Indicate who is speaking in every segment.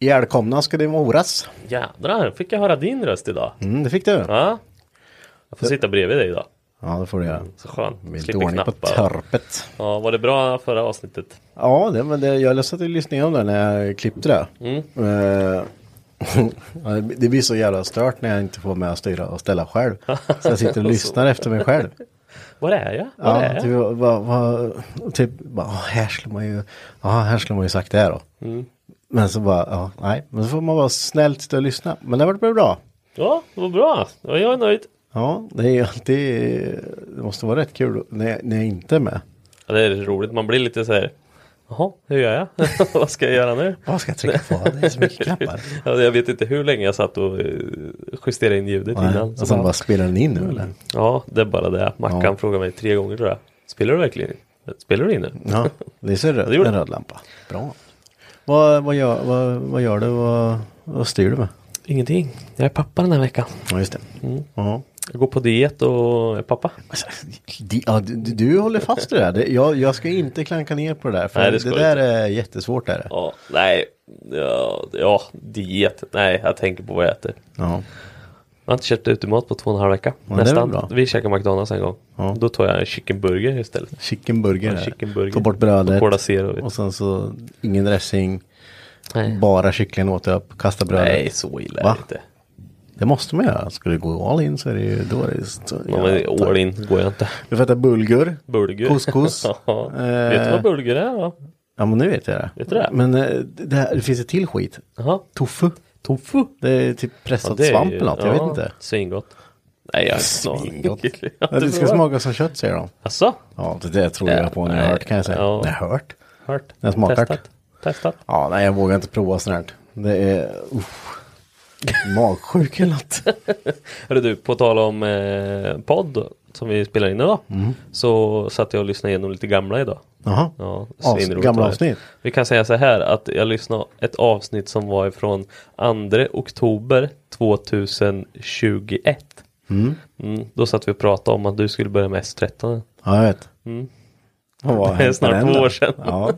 Speaker 1: Välkomna ska det moras.
Speaker 2: Jädrar, fick jag höra din röst idag?
Speaker 1: Mm, det fick du. Ja,
Speaker 2: Ja. Jag får sitta bredvid dig idag.
Speaker 1: det får du göra.
Speaker 2: Så skönt.
Speaker 1: Lite
Speaker 2: Slipper
Speaker 1: ordning på
Speaker 2: knappa.
Speaker 1: törpet.
Speaker 2: Ja, var det bra förra avsnittet?
Speaker 1: Ja, det, men det, jag satt och lyssnade om det när jag klippte det.
Speaker 2: Mm.
Speaker 1: Eh, ja, det- det blir så jävla stört när jag inte får med att styra och ställa själv. Så jag sitter och lyssnar efter mig själv.
Speaker 2: Var är jag? Var är
Speaker 1: Ja,
Speaker 2: jag?
Speaker 1: typ, va, va, typ bara, "Åh, här skulle man ju, ja, här skulle man ju sagt det här då.
Speaker 2: Mm.
Speaker 1: Men så bara, ja, nej, men så får man vara snällt sitta och lyssna. Men det har varit bra.
Speaker 2: Ja, det var bra. Ja, jag är nöjd.
Speaker 1: Ja, det är ju alltid, det måste vara rätt kul när jag, när jag inte är med.
Speaker 2: Ja, det är roligt. Man blir lite så här. Jaha, hur gör jag? Vad ska jag göra nu?
Speaker 1: Vad ska jag trycka på? Det är så mycket knappar.
Speaker 2: Ja, jag vet inte hur länge jag satt och eh, justerade in ljudet
Speaker 1: Nej,
Speaker 2: innan.
Speaker 1: och sen bara spelar den in nu eller?
Speaker 2: Ja, det är bara det. Mackan
Speaker 1: Ja.
Speaker 2: frågade mig tre gånger tror jag. Spelar du verkligen in? Spelar du in nu?
Speaker 1: Ja, det ser
Speaker 2: det
Speaker 1: röd,
Speaker 2: gjorde
Speaker 1: en
Speaker 2: det.
Speaker 1: röd lampa. Bra. Vad, vad, gör, vad, vad gör du? Vad, vad styr du med?
Speaker 2: Ingenting. Jag är pappa den här veckan.
Speaker 1: Ja, just det. Ja.
Speaker 2: Jag går på diet och är pappa.
Speaker 1: Alltså, di- ja, du, du- du håller fast i det här. Det- Jag, jag ska inte klanka ner på det där. För
Speaker 2: Nej, det
Speaker 1: det,
Speaker 2: ska du
Speaker 1: där är jättesvårt. Där. Ja.
Speaker 2: Ja, nej. Ja, ja, diet. Nej, jag tänker på vad jag äter.
Speaker 1: Ja.
Speaker 2: Jag har inte köpt utemat på två och en halv vecka.
Speaker 1: Ja, det är väl
Speaker 2: Nästan.
Speaker 1: bra.
Speaker 2: Vi käkar McDonalds en gång.
Speaker 1: Ja.
Speaker 2: Då tar jag en chickenburger istället.
Speaker 1: Chicken burger.
Speaker 2: Ja,
Speaker 1: där.
Speaker 2: chicken burger.
Speaker 1: Ta bort brödet.
Speaker 2: Och Cola Zero, vet du.
Speaker 1: och sen så ingen dressing.
Speaker 2: Nej,
Speaker 1: Bara kycklingen åt upp. Kasta brödet.
Speaker 2: nej så illa är
Speaker 1: Va?
Speaker 2: det inte.
Speaker 1: Det måste man göra. Ska du gå all in så är det ju då är det så,
Speaker 2: Ja, men all in går jag inte.
Speaker 1: Du får äta bulgur.
Speaker 2: Bulgur.
Speaker 1: Couscous.
Speaker 2: ja.
Speaker 1: Eh,
Speaker 2: Vet du vad bulgur är då?
Speaker 1: Ja men nu vet jag det.
Speaker 2: Vet du det?
Speaker 1: Men eh, det, här, det finns ett till skit.
Speaker 2: Jaha.
Speaker 1: Tofu. Tofu? Det är typ
Speaker 2: Ja,
Speaker 1: pressad
Speaker 2: det är
Speaker 1: svamp
Speaker 2: ju-
Speaker 1: eller något. Jag
Speaker 2: ja,
Speaker 1: vet inte.
Speaker 2: Svingott. Nej, jag har
Speaker 1: Svingott.
Speaker 2: Ja,
Speaker 1: Ja, det ska smaka som kött säger de.
Speaker 2: Alltså,
Speaker 1: Ja det där tror jag på när jag
Speaker 2: Nej,
Speaker 1: hört kan jag säga.
Speaker 2: ja.
Speaker 1: När jag hört?
Speaker 2: hört.
Speaker 1: Den smakar.
Speaker 2: Testat. Testat.
Speaker 1: Ja nej jag vågar inte prova sånt här. Det är uff, magsjuk eller något.
Speaker 2: Hörru du, på tal om eh, podd som vi spelar in idag.
Speaker 1: Mm.
Speaker 2: Så satt jag och lyssnade igenom lite gamla idag.
Speaker 1: Jaha.
Speaker 2: Ja,
Speaker 1: Avs-
Speaker 2: svinroligt
Speaker 1: gamla
Speaker 2: var det.
Speaker 1: avsnitt.
Speaker 2: Vi kan säga så här att jag lyssnade ett avsnitt som var ifrån 2 oktober 2021. Mm, då satt vi och pratade om att du skulle börja med S13.
Speaker 1: Ja jag vet. Vad har
Speaker 2: Mm. Det är
Speaker 1: hänt med
Speaker 2: snart
Speaker 1: den
Speaker 2: två
Speaker 1: då?
Speaker 2: år sedan.
Speaker 1: Ja.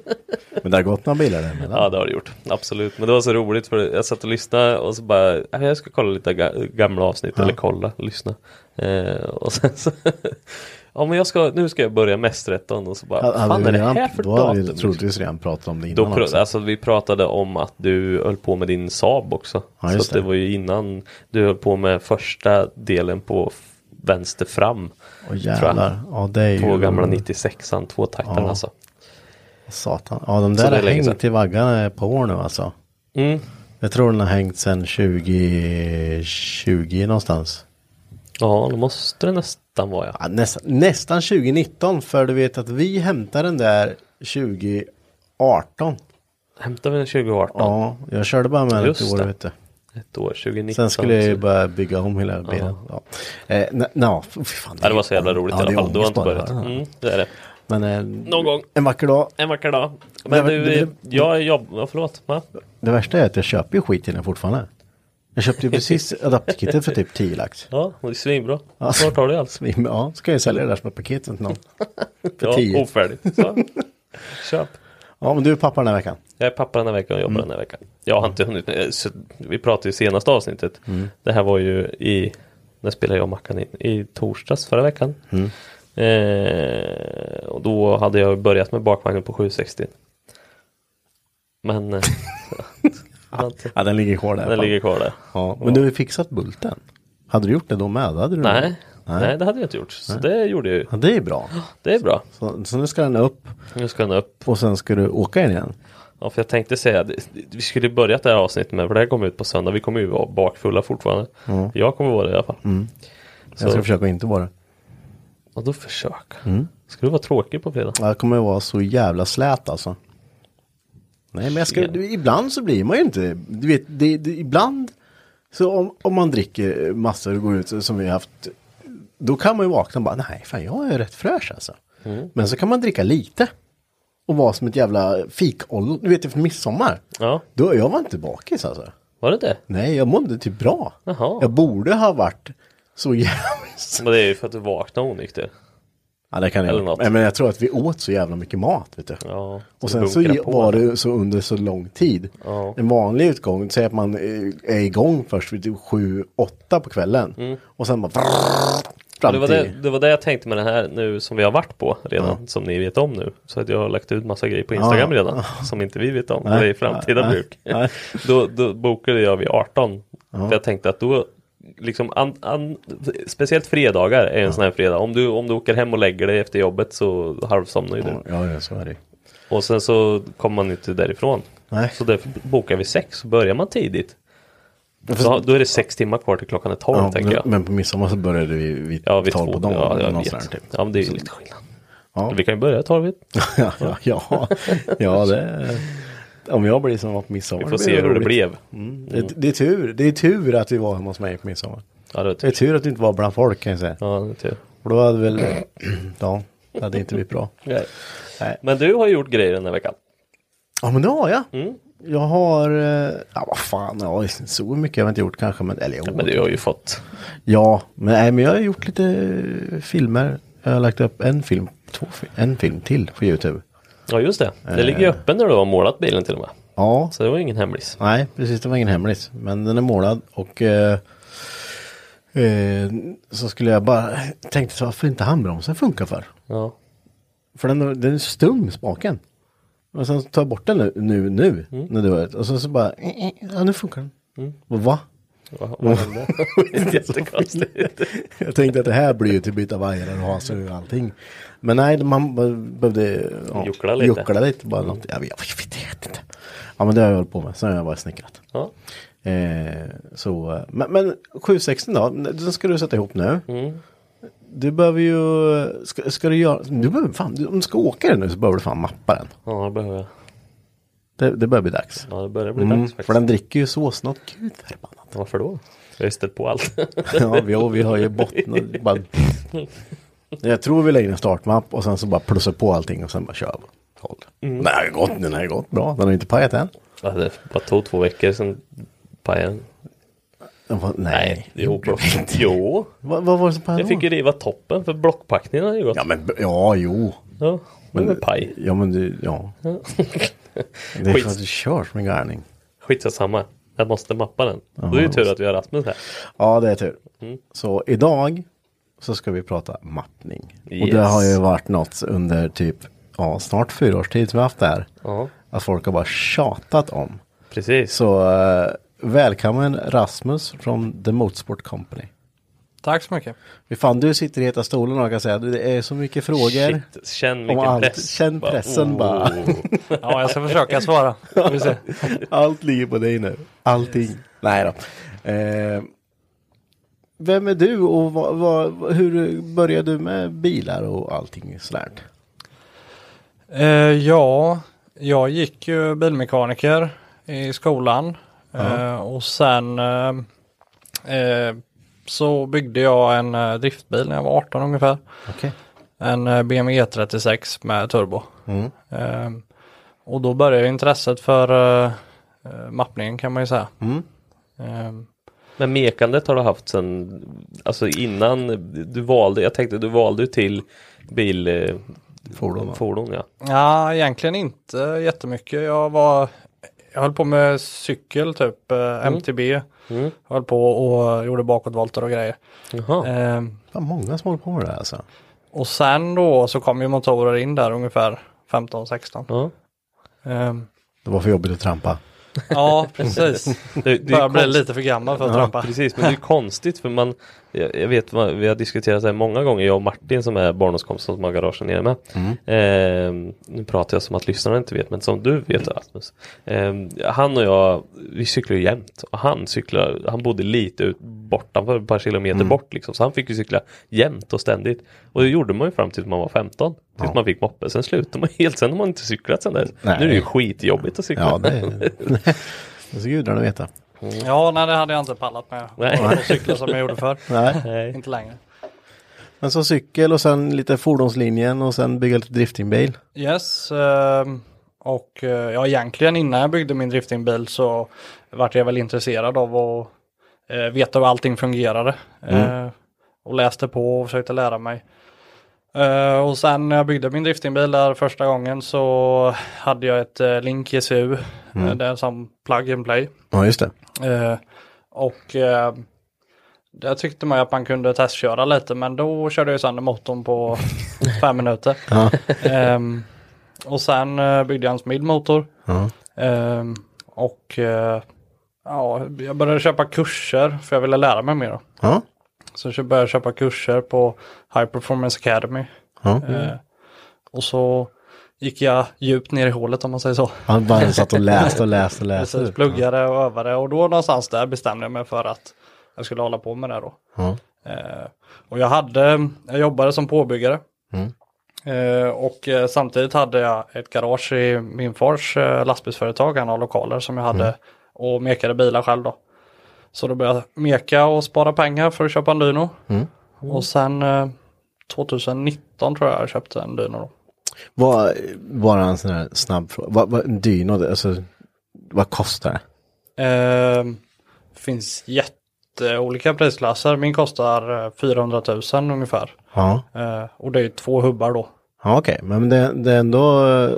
Speaker 1: Men det har gått några bilar däremellan.
Speaker 2: Ja det har du gjort, absolut. Men det var så roligt för jag satt och lyssnade och så bara, "Äh, jag ska kolla lite ga- gamla avsnitt eller kolla, lyssna. Eh, och sen så, ja men jag ska, nu ska jag börja med S13 och så bara, vad
Speaker 1: Hade
Speaker 2: fan
Speaker 1: vi
Speaker 2: är det
Speaker 1: redan-
Speaker 2: här för
Speaker 1: Då hade vi
Speaker 2: datum?
Speaker 1: troligtvis redan pratat om det
Speaker 2: Då
Speaker 1: innan
Speaker 2: pr-
Speaker 1: också.
Speaker 2: alltså vi pratade om att du höll på med din Saab också.
Speaker 1: Ja,
Speaker 2: så
Speaker 1: just
Speaker 2: att det
Speaker 1: det.
Speaker 2: var ju innan du höll på med första delen på f- vänster fram.
Speaker 1: Åh jävlar. Ja det är ju.
Speaker 2: På gamla 96an, tvåtaktaren
Speaker 1: Ja.
Speaker 2: alltså.
Speaker 1: Satan. Ja, de
Speaker 2: Så
Speaker 1: där
Speaker 2: det är
Speaker 1: har
Speaker 2: länge sedan.
Speaker 1: hängt i vaggarna på år nu alltså.
Speaker 2: Mm.
Speaker 1: Jag tror den har hängt sedan 2020 någonstans.
Speaker 2: Ja, då måste det nästan vara ja.
Speaker 1: Ja, nästan, nästan 2019 för du vet att vi hämtade den där 2018.
Speaker 2: Hämtade vi den 2018?
Speaker 1: Ja, jag körde bara med den
Speaker 2: Just
Speaker 1: ett år
Speaker 2: det.
Speaker 1: vet du.
Speaker 2: Ett år, 2019.
Speaker 1: Sen skulle jag ju
Speaker 2: så-
Speaker 1: bara bygga om hela bilen. Ja. Eh, na, na, fy fan,
Speaker 2: Ja, det var så jävla roligt
Speaker 1: Ja,
Speaker 2: i alla
Speaker 1: det är
Speaker 2: fall. Du har
Speaker 1: ångest
Speaker 2: inte
Speaker 1: bara.
Speaker 2: börjat. Mm, det är det.
Speaker 1: Men eh,
Speaker 2: Någon gång.
Speaker 1: en vacker dag.
Speaker 2: En vacker dag. Men
Speaker 1: Men
Speaker 2: du,
Speaker 1: det-
Speaker 2: eh, jag jobbar... Ja, förlåt. Va?
Speaker 1: Det värsta är att jag köper ju skit i den fortfarande. Jag köpte ju precis adapterkittet för typ 10 lax.
Speaker 2: Ja, det är svinbra.
Speaker 1: Ja.
Speaker 2: Snart har du allt.
Speaker 1: Svim- Ja, ska jag sälja det där som ett paket till någon.
Speaker 2: Ja,
Speaker 1: 10.
Speaker 2: ofärdigt. Så. Köp.
Speaker 1: Ja, men du är pappa den här veckan.
Speaker 2: Jag är pappa den här veckan och jobbar den här veckan. Jag har inte hunnit, eh, så vi pratade ju i senaste avsnittet. Det här var ju i, när spelade jag och Mackan in? I torsdags förra veckan. Eh, och då hade jag börjat med bakvagnen på 760. Men eh,
Speaker 1: Ja, den ligger kvar där.
Speaker 2: den
Speaker 1: fan.
Speaker 2: ligger kvar där.
Speaker 1: Ja, men du har ju fixat bulten. Hade du gjort det då med? Hade du
Speaker 2: Nej,
Speaker 1: Nej.
Speaker 2: nej. det hade jag inte gjort. Så det gjorde jag ju.
Speaker 1: Ja, det är bra.
Speaker 2: Det är bra.
Speaker 1: Så, så nu ska den upp
Speaker 2: Nu ska den upp.
Speaker 1: och sen ska du åka in igen.
Speaker 2: Ja, för jag tänkte säga, det- det- vi skulle börjat det här avsnittet med, för det här kommer ut på söndag, vi kommer ju vara bakfulla fortfarande. Jag kommer vara det i alla fall.
Speaker 1: Jag ska
Speaker 2: Så-
Speaker 1: försöka inte vara det.
Speaker 2: Och då försök. Ska du vara tråkig på fredag?
Speaker 1: Jag kommer vara så jävla slät alltså. Nej men jag ska,
Speaker 2: Tjena.
Speaker 1: du, ibland så blir man ju inte, du vet, det, det, ibland så om, om man dricker massor och går ut som vi har haft, då kan man ju vakna och bara nej fan jag är rätt fräsch alltså.
Speaker 2: Mm.
Speaker 1: Men så kan man dricka lite och vara som ett jävla fikollon, du vet efter midsommar.
Speaker 2: Ja,
Speaker 1: Då, jag var inte bakis alltså.
Speaker 2: var det det?
Speaker 1: Nej jag mådde typ bra.
Speaker 2: Jaha.
Speaker 1: Jag borde ha varit så jävla...
Speaker 2: Men det är ju för att du vaknar onykter.
Speaker 1: Ja det kan jag
Speaker 2: Eller något.
Speaker 1: Nej, men jag tror att vi åt så jävla mycket mat vet du.
Speaker 2: Ja,
Speaker 1: Och
Speaker 2: du
Speaker 1: sen så
Speaker 2: bunkrar
Speaker 1: ge-
Speaker 2: på
Speaker 1: var det så under så lång tid.
Speaker 2: Ja.
Speaker 1: En vanlig utgång, säg att man eh, är igång först vid typ sju, åtta på kvällen. Och sen bara fram
Speaker 2: Mm. Det var
Speaker 1: till-
Speaker 2: det, det var det jag tänkte med den här nu som vi har varit på redan, som ni vet om nu. Så att jag har lagt ut massa grejer på Instagram
Speaker 1: Ja.
Speaker 2: redan, som inte vi vet om.
Speaker 1: Nej.
Speaker 2: Det är i framtida
Speaker 1: Nej.
Speaker 2: bruk.
Speaker 1: Nej.
Speaker 2: då, då bokade jag vid 18. För jag tänkte att då, liksom, an, an, speciellt fredagar är en sån här fredag. Om du, om du åker hem och lägger dig efter jobbet så halvsomnar ju du.
Speaker 1: Ja, Ja, ja, så är det
Speaker 2: Och sen så kommer man inte därifrån.
Speaker 1: Nej.
Speaker 2: Så därför bokar vi sex, så börjar man tidigt. Så, då är det sex timmar kvar till klockan är tolv
Speaker 1: ja,
Speaker 2: tänker jag.
Speaker 1: Men på midsommar så började vi vid
Speaker 2: Ja, vid
Speaker 1: tolv
Speaker 2: två.
Speaker 1: på dagen.
Speaker 2: ja, jag
Speaker 1: någonstans
Speaker 2: vet.
Speaker 1: där, typ.
Speaker 2: ja, men det är ju lite skillnad.
Speaker 1: Ja.
Speaker 2: Vi kan ju börja tolv.
Speaker 1: ja, ja, ja, ja, det är... Om jag blir som var på midsommar.
Speaker 2: Vi får
Speaker 1: det
Speaker 2: se hur det
Speaker 1: roligt. Mm.
Speaker 2: blev. Mm,
Speaker 1: Det, det, är tur, det är tur att vi var hemma hos mig på midsommar.
Speaker 2: Ja, det var
Speaker 1: Det är typ-
Speaker 2: tur.
Speaker 1: tur att du inte var bland folk kan jag säga.
Speaker 2: Ja, det är tur.
Speaker 1: För då hade väl, ja, det hade inte blivit bra. Nej.
Speaker 2: Men du har ju gjort grejer den här veckan.
Speaker 1: Ja men det har jag. Jag har, eh, ja vad fan, ja, så mycket har jag inte gjort kanske. Men, eller, jo,
Speaker 2: Men du har ju fått.
Speaker 1: Ja, men, nej, men jag har gjort lite eh, filmer. Jag har lagt upp en film, två, fi- en film till på YouTube.
Speaker 2: Ja, just det. Det ligger ju
Speaker 1: Eh.
Speaker 2: öppen när du har målat bilen till och med.
Speaker 1: Ja,
Speaker 2: Så det var ingen hemlis.
Speaker 1: nej precis det var ingen hemlis. Men den är målad och eh, eh, så skulle jag bara, tänkte så varför inte handbromsen funkar för?
Speaker 2: Ja.
Speaker 1: För den, den är stum spaken. Och sen tar jag bort den nu, nu, nu
Speaker 2: Mm.
Speaker 1: när du har ett. Och sen så bara, eh, eh, ja nu funkar den. Och Va?
Speaker 2: Vad, vad hände? Det är Jättekonstigt.
Speaker 1: Jag tänkte att det här blir ju till byta vajrar och hasar och allting. Men nej, man be- behövde ja,
Speaker 2: Juckla lite.
Speaker 1: Juckla lite bara något. Jag vet, jag vet inte. Ja men det har jag hållit på med. Sen har jag bara snickrat.
Speaker 2: Ja.
Speaker 1: Eh, så, men, men 760 då, den ska du sätta ihop nu.
Speaker 2: Mm.
Speaker 1: Du behöver ju, ska, ska du göra, du behöver fan, du, om du ska åka den nu så behöver du fan mappa den.
Speaker 2: ja, det behöver jag.
Speaker 1: Det, det börjar bli dags.
Speaker 2: Ja, det börjar bli
Speaker 1: Mm,
Speaker 2: dags
Speaker 1: för
Speaker 2: faktiskt.
Speaker 1: den dricker ju sås något gud förbannat.
Speaker 2: Varför då? Jag har ju ställt på allt.
Speaker 1: ja, vi, och vi har ju bottnat. Bara... Jag tror vi lägger en startmapp och sen så bara plussar på allting och sen bara kör vi. Håll.
Speaker 2: Mm.
Speaker 1: Den här är gott, den här är gott, bra. Den har inte pajat än.
Speaker 2: ja, det bara tog två veckor sen pajade den.
Speaker 1: Den var, nej.
Speaker 2: Jo, jo.
Speaker 1: Vad, vad var det som pajade
Speaker 2: jag fick ju riva toppen för blockpackningen hade ju gått.
Speaker 1: Ja, men ja, jo.
Speaker 2: Ja, men det är paj.
Speaker 1: Ja, men du, ja. Det är för att du kör som en galning.
Speaker 2: Skitsamma. Jag måste mappa den. Då är det ju tur att vi har Rasmus här.
Speaker 1: Ja, det är tur.
Speaker 2: Mm.
Speaker 1: Så idag så ska vi prata mappning. Och
Speaker 2: Yes.
Speaker 1: det har ju varit något under typ ja, snart fyra års tid som vi har haft det här.
Speaker 2: Ja,
Speaker 1: Att folk har bara tjatat om.
Speaker 2: precis.
Speaker 1: Så eh, välkommen Rasmus från The Motorsport Company.
Speaker 3: Tack så mycket.
Speaker 1: Fy Fan, du sitter i heta stolen och kan säga det är så mycket frågor.
Speaker 2: Shit, känn
Speaker 1: Om
Speaker 2: vilken
Speaker 1: allt.
Speaker 2: press. oh.
Speaker 1: Känn pressen bara.
Speaker 3: Ja, jag ska försöka svara. Vi får se.
Speaker 1: Allt ligger på dig nu. Allting. Nej då. Eh, vem är du och vad, vad, hur började du med bilar och allting sådär?
Speaker 3: Eh, ja, Jag gick ju bilmekaniker i skolan eh, och sen eh, eh, så byggde jag en eh, driftbil när jag var 18 ungefär.
Speaker 1: Okej.
Speaker 3: En eh, BMW E36 med turbo. Eh, och då började intresset för eh, eh, mappningen kan man ju säga. Eh,
Speaker 2: Men mekandet har du haft sen, alltså innan du valde, jag tänkte du valde ju till bil... eh,
Speaker 1: Fordon, va?
Speaker 2: fordon ja.
Speaker 3: Ja, egentligen inte jättemycket. Jag var, jag höll på med cykel typ, eh, MTB.
Speaker 2: Mm.
Speaker 3: Höll på och gjorde bakåtvolter och grejer.
Speaker 2: Jaha.
Speaker 3: Eh,
Speaker 1: Fan, många som håller på med det här alltså.
Speaker 3: och sen då så kom ju motorer in där ungefär 15-16.
Speaker 2: Ja.
Speaker 3: Eh,
Speaker 1: Det var för jobbigt att trampa.
Speaker 3: ja, precis.
Speaker 2: Det, det är ju
Speaker 3: Börjar bli
Speaker 2: konst-
Speaker 3: lite för gammal för att trampa.
Speaker 2: Precis, men det är ju konstigt för man Jag, jag vet, vad- vi har diskuterat det här många gånger jag och Martin som är barndomskompis som har garagen nere med.
Speaker 1: Mm.
Speaker 2: Ehm, nu pratar jag som att lyssnarna inte vet men som du
Speaker 1: Mm.
Speaker 2: vet Rasmus. Ehm, han och jag, vi cyklar ju jämt och han cyklar, han bodde lite ut bortanför, ett par kilometer
Speaker 1: Mm.
Speaker 2: bort liksom så han fick ju cykla jämt och ständigt. Och det gjorde man ju fram tills man var 15. Tills man fick moppe, sen slutade man helt, sen har man inte cyklat sen dess.
Speaker 1: Nej.
Speaker 2: Nu är det ju skitjobbigt att cykla.
Speaker 1: Ja, det är... Det ska gudarna veta.
Speaker 3: Ja, nej det hade jag inte pallat med.
Speaker 2: Nej.
Speaker 3: Att cykla som jag gjorde förr.
Speaker 1: Nej.
Speaker 2: Nej.
Speaker 3: Inte längre.
Speaker 1: Men så cykel och sen lite fordonslinjen och sen bygga lite driftingbil.
Speaker 3: Yes, ehm, och eh, ja, egentligen innan jag byggde min driftingbil så vart jag väl intresserad av att eh, veta hur allting fungerade. Eh, och läste på och försökte lära mig. Eh, och sen när jag byggde min driftingbil där första gången så hade jag ett eh, Link GCU, eh, det är som plug and play.
Speaker 1: Ja, just det.
Speaker 3: Eh, och eh, där tyckte man ju att man kunde testköra lite men då körde jag ju sönder motorn på fem minuter. Ehm, och sen eh, byggde jag en smidd motor.
Speaker 1: Ja.
Speaker 3: Ehm, och eh, ja, jag började köpa kurser för jag ville lära mig mer. Då.
Speaker 1: Ja.
Speaker 3: Så jag började köpa kurser på High Performance Academy.
Speaker 1: Ja.
Speaker 3: Eh, och så gick jag djupt ner i hålet om man säger så.
Speaker 1: Han bara satt och läste och läste och läste.
Speaker 3: Precis, pluggade och övade och då någonstans där bestämde jag mig för att jag skulle hålla på med det då.
Speaker 1: Ja.
Speaker 3: Eh, och jag hade, jag jobbade som påbyggare. Eh, och eh, samtidigt hade jag ett garage i min fars eh, lastbilsföretag, han har lokaler som jag hade och mekade bilar själv då. Så då började jag meka och spara pengar för att köpa en dyno. Och sen eh, 2019 tror jag jag köpte en dyno då.
Speaker 1: Vad, bara en sån här snabb fråga. Vad, vad, en dyno, det- alltså, vad kostar det?
Speaker 3: Eh, finns jätteolika prisklasser. Min kostar eh, 400 000 ungefär.
Speaker 1: Ja,
Speaker 3: Eh, och det är två hubbar då.
Speaker 1: ja okej, men det, det är ändå eh,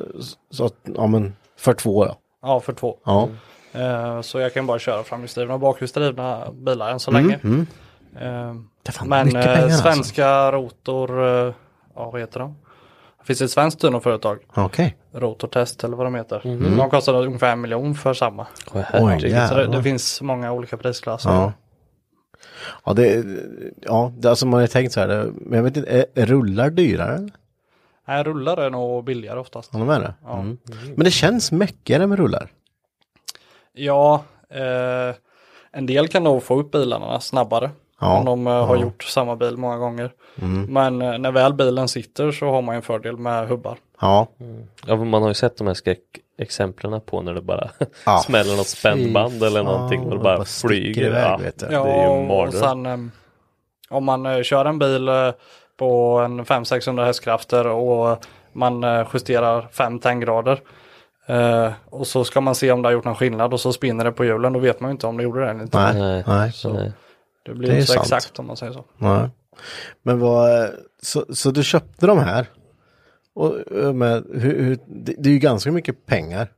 Speaker 1: så att, ja men, för två då.
Speaker 3: Ja, för två.
Speaker 1: Ja,
Speaker 3: Eh, så jag kan bara köra framhjulsdrivna och bakhjulsdrivna bilar än så länge. Eh,
Speaker 1: Mm, det är fan
Speaker 3: men
Speaker 1: mycket
Speaker 3: eh,
Speaker 1: pengar alltså.
Speaker 3: svenska rotor, eh, ja vad heter de? Det finns ett svenskt dynoföretag,
Speaker 1: Okej,
Speaker 3: Rotortest eller vad de heter.
Speaker 1: Mhm.
Speaker 3: Mm. De kostar ungefär en miljon för samma.
Speaker 1: oj
Speaker 3: Så det,
Speaker 1: jävlar.
Speaker 3: det finns många olika prisklasser.
Speaker 1: Ja. Ja, det, ja, det, alltså man har tänkt så här, det, men jag vet inte, är, är rullar dyrare? eller?
Speaker 3: Nej, rullar är nog billigare oftast.
Speaker 1: Ja, de är det? Mm. Men det känns mäckigare med rullar.
Speaker 3: Ja, eh, en del kan nog få upp bilarna snabbare.
Speaker 1: Ja,
Speaker 3: Om de eh, har gjort samma bil många gånger. Men eh, när väl bilen sitter så har man ju en fördel med hubbar.
Speaker 1: Ja,
Speaker 2: Ja, men man har ju sett de här skräckexemplen på när det bara
Speaker 1: Ja,
Speaker 2: smäller något spännband eller någonting och det bara
Speaker 1: sticker
Speaker 2: flyger.
Speaker 1: iväg,
Speaker 2: ja,
Speaker 1: vet du.
Speaker 2: det
Speaker 3: Ja,
Speaker 2: är ju en
Speaker 3: och
Speaker 2: mardröm.
Speaker 3: sen eh, om man eh, kör en bil eh, på en 500-600 hästkrafter och man eh, justerar 5 tanggrader. Eh, och så ska man se om det har gjort någon skillnad och så spinner det på hjulen. Då vet man ju inte om det gjorde det eller inte.
Speaker 1: nej, nej.
Speaker 2: Nej.
Speaker 1: nej.
Speaker 3: Så
Speaker 2: Nej.
Speaker 3: det blir
Speaker 1: Det är
Speaker 3: inte så
Speaker 1: sant.
Speaker 3: exakt om man säger så.
Speaker 1: Men vad, så, så du köpte de här? Och eh, med, hur, hur, det, det är ju ganska mycket pengar.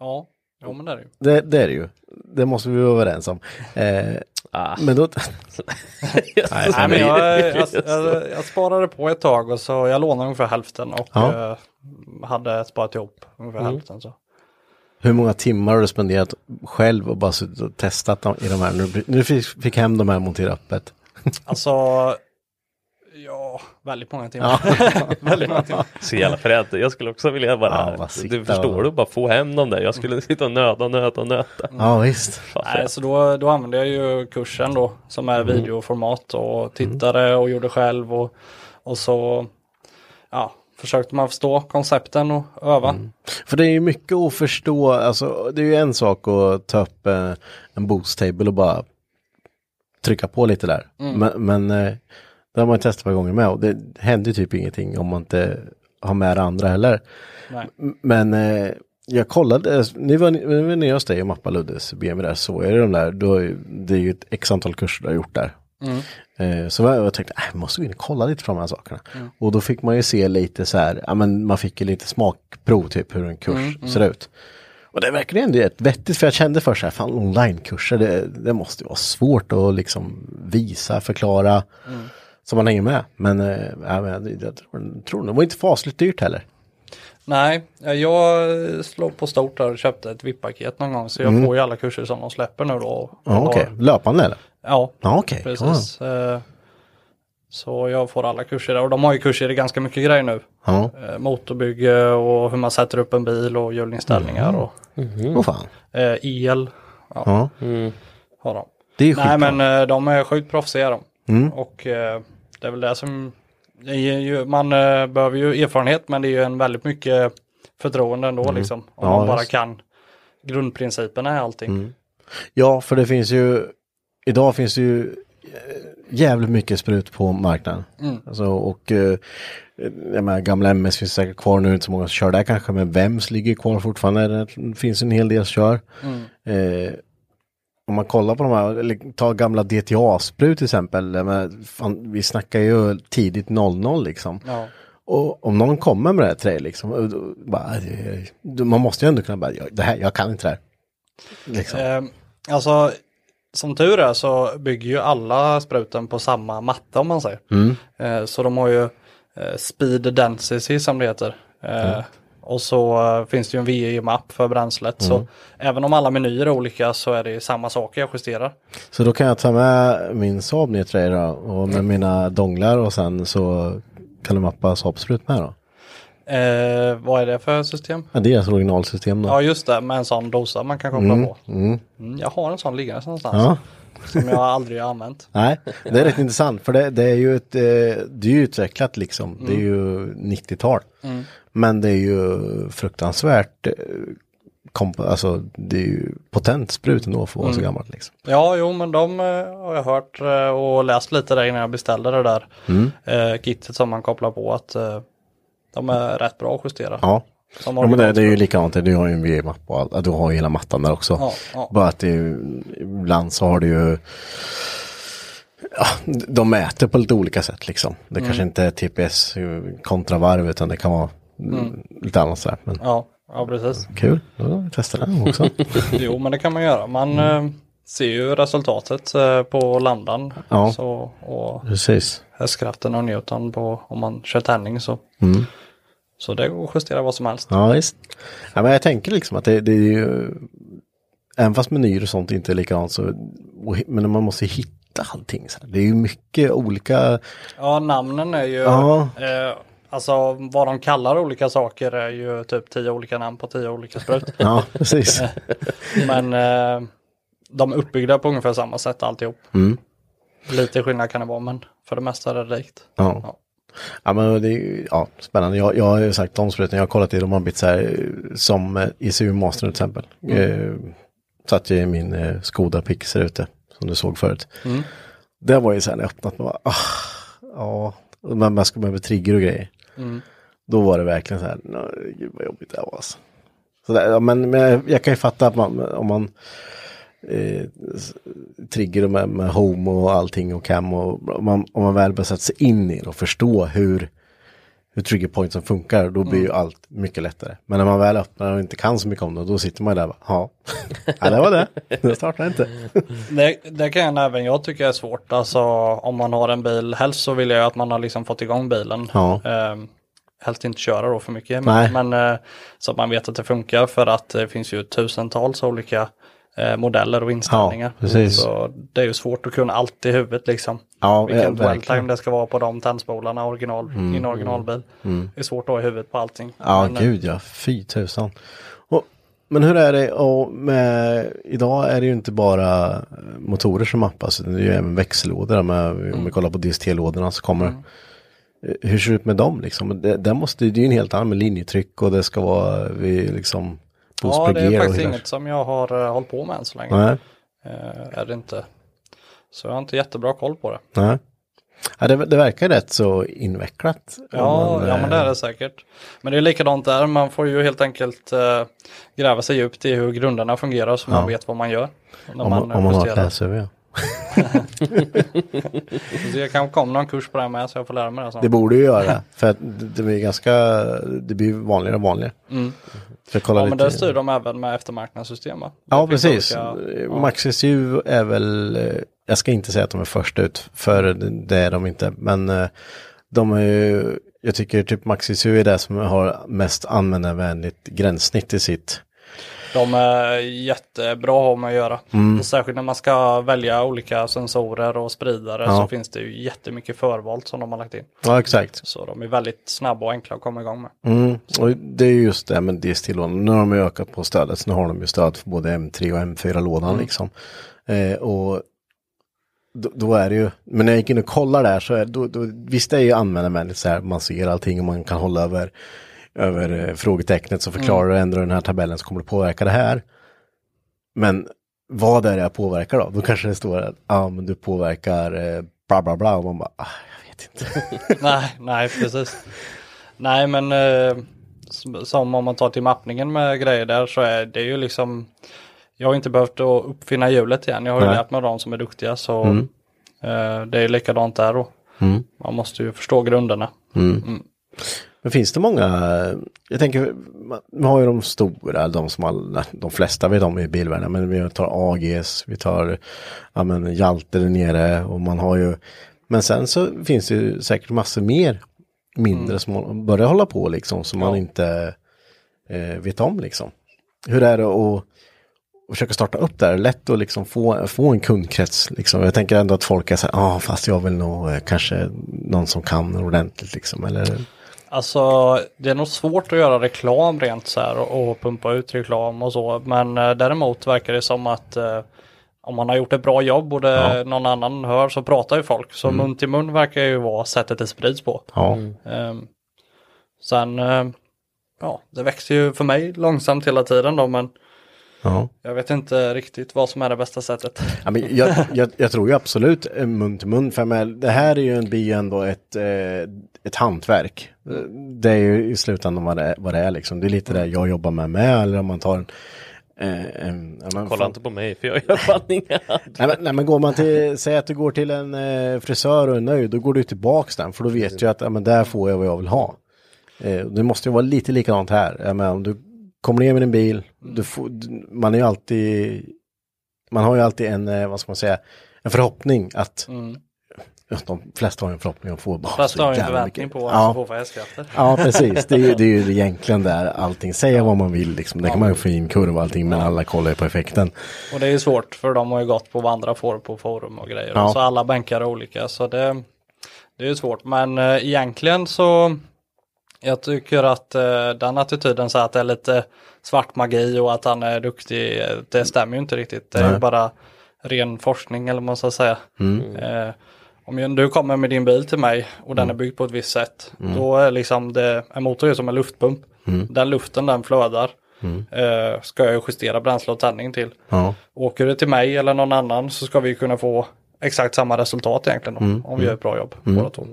Speaker 3: Ja, jo, men det är det ju.
Speaker 1: Det, det är det ju. Det måste vi vara överens om. Eh,
Speaker 2: Ah.
Speaker 1: Men då... nej,
Speaker 3: Nej, men
Speaker 1: men-
Speaker 3: jag, jag, jag, jag sparade på ett tag och så jag lånade ungefär hälften och
Speaker 1: Ja. Mm.
Speaker 3: eh, hade sparat ihop ungefär hälften. Så.
Speaker 1: Hur många timmar har du spenderat själv och bara suttit och testat dem i de här? Nu, nu fick, fick hem de här monterat öppet.
Speaker 3: Alltså, ja, väldigt många timmar.
Speaker 1: Ja.
Speaker 3: väldigt många timmar.
Speaker 2: Så jävla fränt. Jag skulle också vilja
Speaker 1: Ja,
Speaker 2: bara,
Speaker 1: bara sitta
Speaker 2: du förstår
Speaker 1: och-
Speaker 2: du, bara få hem dem där. Jag skulle sitta och nöta, nöta, nöta.
Speaker 1: ja, visst.
Speaker 2: Fan,
Speaker 3: Nej, så då, då använde jag ju kursen då som är
Speaker 1: Mm.
Speaker 3: videoformat och tittade och gjorde själv och, och så ja, försökte man förstå koncepten och öva.
Speaker 1: För det är ju mycket att förstå, alltså det är ju en sak att ta upp eh, en boost table och bara trycka på lite där. Men, men eh, det har man ju testat ett par gånger med och det händer ju typ ingenting om man inte har med det andra heller.
Speaker 3: Nej.
Speaker 1: M- Men eh, jag kollade, eh, nu var ni nu var nere hos dig och mappade Luddes BMW där, så är det de där, då, det är ju ett x antal kurser du har gjort där. Eh, Så var jag jag tänkte, äh, jag måste gå in och kolla lite på de här sakerna.
Speaker 3: Mm.
Speaker 1: Och då fick man ju se lite så här, ja men man fick ju lite smakprov typ hur en kurs
Speaker 3: Mm,
Speaker 1: ser ut. Och det verkar ju ändå rätt vettigt för jag kände först så här, fan onlinekurser, det, det måste ju vara svårt att liksom visa, förklara.
Speaker 3: Mm.
Speaker 1: Så man hänger med. Men, eh, ja, men jag, jag tror- tror det var inte fasligt dyrt heller.
Speaker 3: Nej, jag slog på stort där och köpte ett VIP-paket någon gång så jag får ju alla kurser som de släpper nu då.
Speaker 1: Mm. Ja, okej. Löpande eller?
Speaker 3: Ja,
Speaker 1: Ja, okej.
Speaker 3: precis. Eh, Så jag får alla kurser där och de har ju kurser i ganska mycket grejer nu.
Speaker 1: Ja,
Speaker 3: Eh, Motorbygge och hur man sätter upp en bil och hjulinställningar
Speaker 1: Mm.
Speaker 3: och
Speaker 1: vad fan.
Speaker 3: eh, el
Speaker 1: Ja.
Speaker 3: har de.
Speaker 1: Det är ju
Speaker 3: Nej
Speaker 1: skitbra. Mm.
Speaker 3: men eh, de är sjukt proffsiga de. Och eh, det är väl det som, det är ju, man eh, behöver ju erfarenhet men det är ju en väldigt mycket förtroende ändå liksom. Om
Speaker 1: Mm. Ja, Mm.
Speaker 3: man bara
Speaker 1: just.
Speaker 3: kan grundprinciperna i allting.
Speaker 1: Ja, för det finns ju, idag finns det ju eh, jävligt mycket sprut på marknaden. Alltså, och eh, jag menar, gamla MS finns säkert kvar nu, inte så många som kör där kanske, men Vems ligger kvar fortfarande, det finns en hel del som kör. Eh, om man kollar på de här, eller ta gamla DTA-sprut till exempel, jag menar, fan, vi snackar ju tidigt 00 liksom.
Speaker 3: Ja.
Speaker 1: Och om någon kommer med det här till dig liksom, och då, bara, eh, då- man måste ju ändå kunna bara, "Jag- det här, jag kan inte det här. Liksom.
Speaker 3: Eh, alltså, som tur är så bygger ju alla spruten på samma matta om man säger. Eh, så de har ju eh, speed density som det heter. Eh, Och så eh, finns det ju en VE-mapp för bränslet. Så även om alla menyer är olika så är det ju samma saker jag justerar.
Speaker 1: Så då kan jag ta med min Saab ner till dig då och med mina donglar och sen så kan du mappa Saab-sprut med då.
Speaker 3: Eh, vad är det för system?
Speaker 1: Ja, det är deras originalsystem då.
Speaker 3: Ja just det, med en sån dosa man kan koppla på. Mm, jag har en sån liggandes någonstans
Speaker 1: Ja.
Speaker 3: som jag aldrig har använt.
Speaker 1: Nej, det är rätt intressant för det, det är ju ett, eh, det är ju utvecklat liksom, det är ju 90-tal. Men det är ju fruktansvärt, eh, komp- alltså det är ju potent sprut ändå för att vara så gammalt liksom.
Speaker 3: Ja, jo men de eh, har jag hört eh, och läst lite där innan jag beställde det där
Speaker 1: Mm.
Speaker 3: eh, kittet som man kopplar på att eh, de är rätt bra att justera.
Speaker 1: Ja.
Speaker 3: Som
Speaker 1: Ja, men det, det är ju
Speaker 3: originalsprut.
Speaker 1: likadant, du har ju en VE-mapp och allt, du har ju hela mattan där också.
Speaker 3: Ja, ja.
Speaker 1: Bara att det är, ju- ibland så har du ju, ja, de mäter på lite olika sätt liksom. Det
Speaker 3: Mm.
Speaker 1: kanske inte är TPS kontra varv utan det kan vara
Speaker 3: Mm.
Speaker 1: mm, lite annat sådär. Men
Speaker 3: Ja, ja precis.
Speaker 1: kul, då testar jag den också.
Speaker 3: Jo men det kan man göra. Man
Speaker 1: Mm.
Speaker 3: eh, ser ju resultatet eh, på landan
Speaker 1: Ja.
Speaker 3: så, och
Speaker 1: Precis.
Speaker 3: hästkraften och Newton på om man kör tändning så.
Speaker 1: Mm.
Speaker 3: Så det går att justera vad som helst.
Speaker 1: Ja visst. Ja, men jag tänker liksom att det, det är ju, även fast menyer och sånt inte är likadant så, och hi- men man måste ju hitta allting. Så här. Det är ju mycket olika,
Speaker 3: Ja, namnen är ju...
Speaker 1: Ja.
Speaker 3: Eh, alltså vad de kallar olika saker är ju typ tio olika namn på tio olika sprut.
Speaker 1: ja precis.
Speaker 3: Men eh, de är uppbyggda på ungefär samma sätt alltihop.
Speaker 1: Mm.
Speaker 3: Lite skillnad kan det vara men för det mesta är det likt.
Speaker 1: Ja. Ja men det är ju ja, spännande. Jag, jag har ju sagt de spruten, jag har kollat i de har blivit så här eh, som eh, ICU Master till exempel. Eh, satt ju i min eh, Skoda Pix där ute som du såg förut. Det var ju så här när jag öppnat, man bara, ah, ja, Och man, man ska behöva trigger och grejer. Då var det verkligen så här, nej, gud vad jobbigt det här var alltså. Så där, ja, men, men jag, jag kan ju fatta att man, om man eh, s- trigger med, med home och allting och cam och om man, om man väl börjar sätta sig in i det och förstå hur, hur trigger pointsen funkar, då blir ju allt mycket lättare. Men när man väl öppnar och inte kan så mycket om det, då sitter man där och bara, ja, ja det var det, det startar inte.
Speaker 3: Det, det kan även jag tycka är svårt. Alltså om man har en bil, helst så vill jag att man har liksom fått igång bilen.
Speaker 1: Ja.
Speaker 3: Ehm, helst inte köra då för mycket.
Speaker 1: Nej.
Speaker 3: Men, men eh, så att man vet att det funkar för att det finns ju tusentals olika eh, modeller och inställningar.
Speaker 1: Ja, precis.
Speaker 3: Så det är ju svårt att kunna allt i huvudet liksom.
Speaker 1: Ja,
Speaker 3: Vilken
Speaker 1: ja,
Speaker 3: dwell
Speaker 1: verkligen. Mm.
Speaker 3: time det ska vara på de tändspolarna original, i en originalbil. Det är svårt att ha i huvudet på allting.
Speaker 1: Ja,
Speaker 3: Men, eh,
Speaker 1: gud ja, fy tusan. Och, men hur är det, och med, idag är det ju inte bara eh,
Speaker 3: Mm.
Speaker 1: motorer som mappas, utan det är ju även växellådor, med, om vi kollar på DST-lådorna så kommer eh, hur ser det ut med dem liksom? Det, det, måste, det är ju en helt annan med linjetryck och det ska vara vid liksom
Speaker 3: Ja, det
Speaker 1: boost per
Speaker 3: är
Speaker 1: gear och
Speaker 3: faktiskt
Speaker 1: hela-
Speaker 3: inget som jag har uh, hållit på med än så länge.
Speaker 1: Nej,
Speaker 3: Eh, är det inte. Så jag har inte jättebra koll på det.
Speaker 1: nej. Ja, det, det verkar rätt så invecklat. om
Speaker 3: Ja,
Speaker 1: man,
Speaker 3: ja
Speaker 1: eh,
Speaker 3: men det är det säkert. Men det är likadant där, man får ju helt enkelt eh, gräva sig djupt i hur grunderna fungerar så man vet vad man gör. När
Speaker 1: Om man, om man har ett
Speaker 3: justerar.
Speaker 1: läshuvud, ja.
Speaker 3: Så jag kan komma någon kurs på det här med så jag får lära mig det sen.
Speaker 1: Det borde ju göra. För att det det blir ganska, det blir vanligare och vanligare. För att kolla
Speaker 3: Mm. Ja men
Speaker 1: lite.
Speaker 3: det styr de även med eftermarknadssystem va?
Speaker 1: ja,
Speaker 3: Det finns
Speaker 1: precis.
Speaker 3: olika-
Speaker 1: Eh, Maxis U är väl, eh, jag ska inte säga att de är först ut, för det det är de inte. Men eh, de är ju, jag tycker typ Maxis U är det som har mest användarvänligt gränssnitt i sitt.
Speaker 3: De är jättebra att ha med att göra.
Speaker 1: Mm.
Speaker 3: Och särskilt när man ska välja olika sensorer och spridare
Speaker 1: Ja.
Speaker 3: så finns det ju jättemycket förvalt som de har lagt in.
Speaker 1: Ja, exakt.
Speaker 3: Så de är väldigt snabba och enkla att komma igång med.
Speaker 1: Mm. Och det är just det med DST-lådan. Nu har de ju ökat på stödet. Så nu har de ju stöd för både M3 och M4-lådan liksom. Eh, och då, då är det ju, men när jag gick in och kollade där så är då, då, visst det är ju användarvänligt så här. Man ser allting och man kan hålla över, över eh, frågetecknet som förklarar och ändrar den här tabellen så kommer det påverka det här. Men vad är det jag påverkar då? Då kanske det står att ah, men du påverkar eh, bla bla bla och man bara, ah, jag vet inte.
Speaker 3: nej, nej precis. Nej men eh, som- som om man tar till mappningen med grejer där så är det ju liksom Jag har inte behövt att uppfinna hjulet igen. Jag har ju
Speaker 1: Nej. Mm.
Speaker 3: lärt mig av de som är duktiga så eh, det är likadant där då. Man måste ju förstå grunderna.
Speaker 1: Men finns det många, jag tänker, man- vi har ju de stora, de som alla, de flesta vet om i bilvärlden, men vi tar AGs, vi tar ja, men, Hjalte där nere och man har ju, men sen så finns det ju säkert massor mer mindre som börjar hålla på liksom, som man inte eh, vet om liksom. Hur är det att och försöka starta upp där, lätt att liksom få, få en kundkrets. Liksom. Jag tänker ändå att folk är så här, ja ah, fast jag vill nog eh, kanske någon som kan ordentligt liksom. Eller,
Speaker 3: Alltså det är nog svårt att göra reklam rent så här och, och pumpa ut reklam och så. Men eh, däremot verkar det som att eh, om man har gjort ett bra jobb och det, någon annan hör så pratar ju folk. Så mun till mun verkar ju vara sättet det sprids på.
Speaker 1: ja.
Speaker 3: Ehm, sen, ehm, ja, det växer ju för mig långsamt hela tiden då, men
Speaker 1: Ja.
Speaker 3: jag vet inte riktigt vad som är det bästa sättet.
Speaker 1: Ja, men jag, jag, jag tror ju absolut eh, mun till mun. För jag menar, det här är ju en bi ändå ett, eh, ett hantverk. Eh, Det är ju i slutändan vad det är. Vad det, är liksom. det är
Speaker 2: Mm.
Speaker 1: lite det jag jobbar med med. Eller om man tar en... Eh, en ja, men
Speaker 2: Kolla
Speaker 1: fan-
Speaker 2: inte på mig för jag gör fan inga
Speaker 1: Nej men, nej men går man till, säg att du går till en eh, frisör och är nöjd, då går du tillbaks den för då vet du att ja, men där får jag vad jag vill ha. Eh, och det måste ju vara lite likadant här. Jag menar, om du kommer ner med din bil,
Speaker 3: Mm.
Speaker 1: du får, du- man är ju alltid, man har ju alltid en, eh, vad ska man säga, en förhoppning att, ja, de flesta har ju en förhoppning att få bara
Speaker 3: Mm. Fast
Speaker 1: så
Speaker 3: har ju en
Speaker 1: jävla
Speaker 3: förväntning
Speaker 1: mycket.
Speaker 3: på vad man
Speaker 1: Alltså, ja.
Speaker 3: ska få för hästkrafter.
Speaker 1: Ja, precis. Det är, ju, det är ju egentligen där allting, säga vad man vill liksom. Det kan man ju få in kurv och allting, men alla kollar ju på effekten.
Speaker 3: Och det är ju svårt för de har ju gått på vad andra får på forum och grejer.
Speaker 1: Ja.
Speaker 3: Så alla bänkar är olika så det, det är ju svårt. Men eh, egentligen så jag tycker att eh, den attityden så att det är lite svart magi och att han är duktig, eh, det stämmer ju inte riktigt. Det är ju bara ren forskning eller vad man ska säga. Eh, om ju- du kommer med din bil till mig och den är byggd på ett visst sätt, då är liksom det, en motor är som en luftpump. Den luften den flödar eh, ska jag ju justera bränsle och tändning till.
Speaker 1: Ja.
Speaker 3: Åker det till mig eller någon annan så ska vi kunna få exakt samma resultat egentligen om, om vi gör ett bra jobb båda två.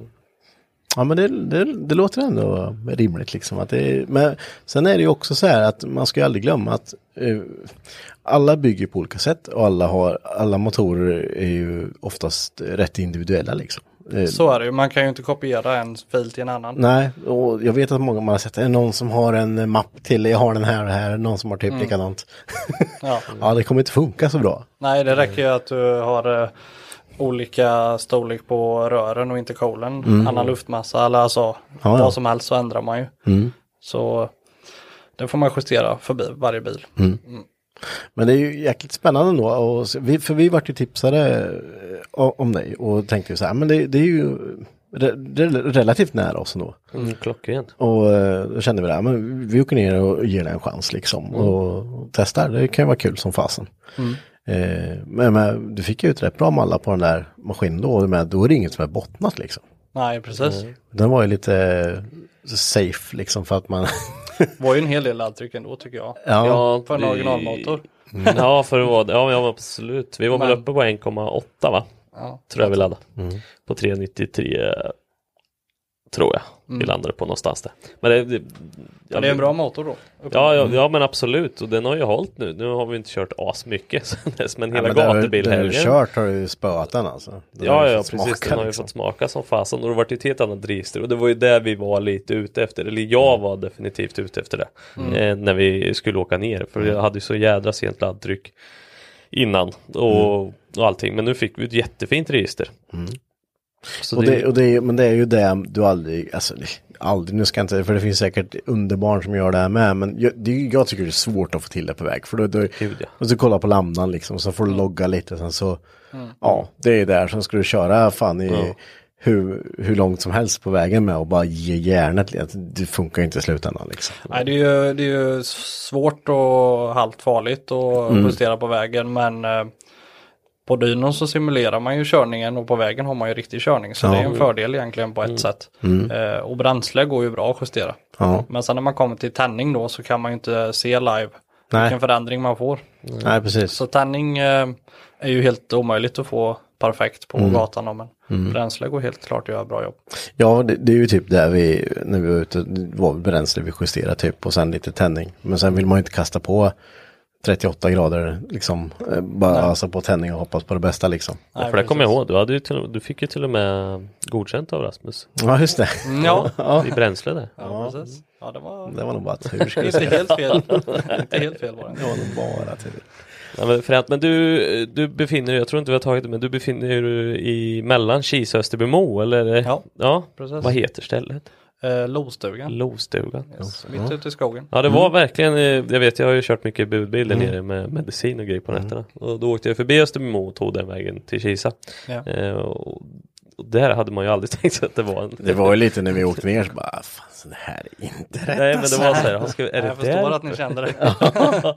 Speaker 1: Ja men det, det, det låter ändå rimligt liksom. Att det, men sen är det ju också så här att man ska ju aldrig glömma att eh, alla bygger på olika sätt och alla, har, alla motorer är ju oftast rätt individuella liksom. Eh,
Speaker 3: Så är det ju, man kan ju inte kopiera en fil till en annan.
Speaker 1: Nej, och jag vet att många man har sett, är det någon som har en eh, mapp till, jag har den här och här, någon som har typ likadant.
Speaker 3: Ja.
Speaker 1: Ja, det kommer inte funka så bra.
Speaker 3: Nej, det räcker ju att du har eh, olika storlek på rören och inte kolen, annan luftmassa eller alltså
Speaker 1: Ja, ja.
Speaker 3: vad som helst så ändrar man ju. Så det får man justera för bi- varje bil.
Speaker 1: Men det är ju jäkligt spännande ändå. Och så- vi, för vi vart ju tipsade eh, o- om dig och tänkte ju så här, men det, det är ju re- re- relativt nära oss ändå.
Speaker 2: mm, Klockrent.
Speaker 1: Och eh, då kände vi det, här, men vi åker ner och ger det en chans liksom.
Speaker 2: Mm.
Speaker 1: Och, och testar, det kan ju vara kul som fasen. Eh, men, men du fick ju ut rätt bra mallar på den där maskinen då. Men då är det inget som är bottnat liksom.
Speaker 3: Nej, precis.
Speaker 1: Den var ju lite eh, safe liksom för att man...
Speaker 3: var ju en hel del avtryck ändå tycker jag.
Speaker 1: ja,
Speaker 3: För en
Speaker 2: vi-
Speaker 3: originalmotor.
Speaker 1: Mm.
Speaker 2: Ja, för att vara Ja, ja, absolut. Vi var väl
Speaker 3: Men-
Speaker 2: uppe på 1,8 va?
Speaker 3: Ja.
Speaker 2: Tror jag vi laddade. På 393 tror jag vi landade på någonstans där. Men det, det,
Speaker 3: Men Mm. det är en bra motor då.
Speaker 2: Ja, ja, ja men absolut och den har ju hållit nu. Nu har vi inte kört asmycket sen dess men hela
Speaker 1: men där- Där du
Speaker 2: gatubilhelgen.
Speaker 1: kört har du ju spöat den alltså. Den har
Speaker 2: Ja,
Speaker 1: ju
Speaker 2: ja,
Speaker 1: fått
Speaker 2: precis.
Speaker 1: smaka,
Speaker 2: den har ju
Speaker 1: liksom.
Speaker 2: fått smaka som fasen och det varit ett helt annat register och det var ju det vi var lite ute efter. Eller
Speaker 1: Mm.
Speaker 2: jag var definitivt ute efter det eh, när vi skulle åka ner för
Speaker 1: Mm.
Speaker 2: jag hade ju så jädra sent laddtryck innan och,
Speaker 1: Mm.
Speaker 2: och allting. Men nu fick vi ett jättefint register. Så
Speaker 1: Och
Speaker 2: det-
Speaker 1: det, och det, är- men det är ju det du aldrig, alltså det- aldrig, nu ska jag inte, för det finns säkert underbarn som gör det här med, men jag, det, är- jag tycker det är svårt att få till det på väg. För då, då,
Speaker 2: Gud, ja.
Speaker 1: och så kolla på lamnan liksom, så får
Speaker 3: Mm.
Speaker 1: du logga lite, sen så, ja, det är där, sen ska du köra fan i hur, hur långt som helst på vägen med och bara ge järnet, lite. det funkar ju inte i slutändan liksom.
Speaker 3: Nej, det är ju, det är ju svårt och halvt farligt att justera på vägen men eh, på dynon så simulerar man ju körningen och på vägen har man ju riktig körning så det är en fördel egentligen på ett
Speaker 2: Mm.
Speaker 3: sätt. Eh, och bränsle går ju bra att justera.
Speaker 1: Ja.
Speaker 3: Men sen när man kommer till tändning då så kan man ju inte se live
Speaker 1: Nej.
Speaker 3: vilken förändring man får.
Speaker 1: Nej, precis.
Speaker 3: Så tändning eh, är ju helt omöjligt att få perfekt på gatan då, men bränsle går helt klart att göra bra jobb.
Speaker 1: Ja, det, det är ju typ där vi, när vi var ute, det var väl bränsle vi justerade typ och sen lite tändning. Men sen vill man ju inte kasta på 38 grader liksom, eh, bara ösa på tändning och hoppas på det bästa liksom.
Speaker 2: Ja, för det kommer jag ihåg, du, hade ju till, du fick ju till och med godkänt av Rasmus
Speaker 1: Ja, just det.
Speaker 3: Ja,
Speaker 2: i bränsle där.
Speaker 3: ja precis. Ja, det var
Speaker 1: Det typ. var nog bara tur. ska jag
Speaker 3: inte
Speaker 1: säga.
Speaker 3: helt fel. inte helt fel var det.
Speaker 1: Det var nog bara tur.
Speaker 2: Ja, men, fränt, men du, du befinner dig, jag tror inte vi har tagit det, men du befinner dig ju i mellan Kisa och Österbymo eller? är det-
Speaker 3: Ja,
Speaker 2: ja.
Speaker 3: precis.
Speaker 2: Vad heter stället?
Speaker 3: Eh, Lostugan,
Speaker 2: Lovstugan.
Speaker 3: yes. mitt ute i skogen.
Speaker 2: Ja det
Speaker 1: Mm.
Speaker 2: var verkligen, eh, jag vet jag har ju kört mycket budbil där nere med medicin och grejer
Speaker 1: Mm.
Speaker 2: på nätterna. Och då åkte jag förbi Österbymo och tog den vägen till Kisa.
Speaker 3: Ja.
Speaker 2: Eh, och, och där hade man ju aldrig tänkt sig att det var en...
Speaker 1: Det var ju lite när vi åkte ner så bara, "Ah, fan så det här är inte rätt. alltså."
Speaker 2: Nej men det var så här, han ska, är det
Speaker 3: Jag förstår
Speaker 2: där?
Speaker 3: att ni kände det.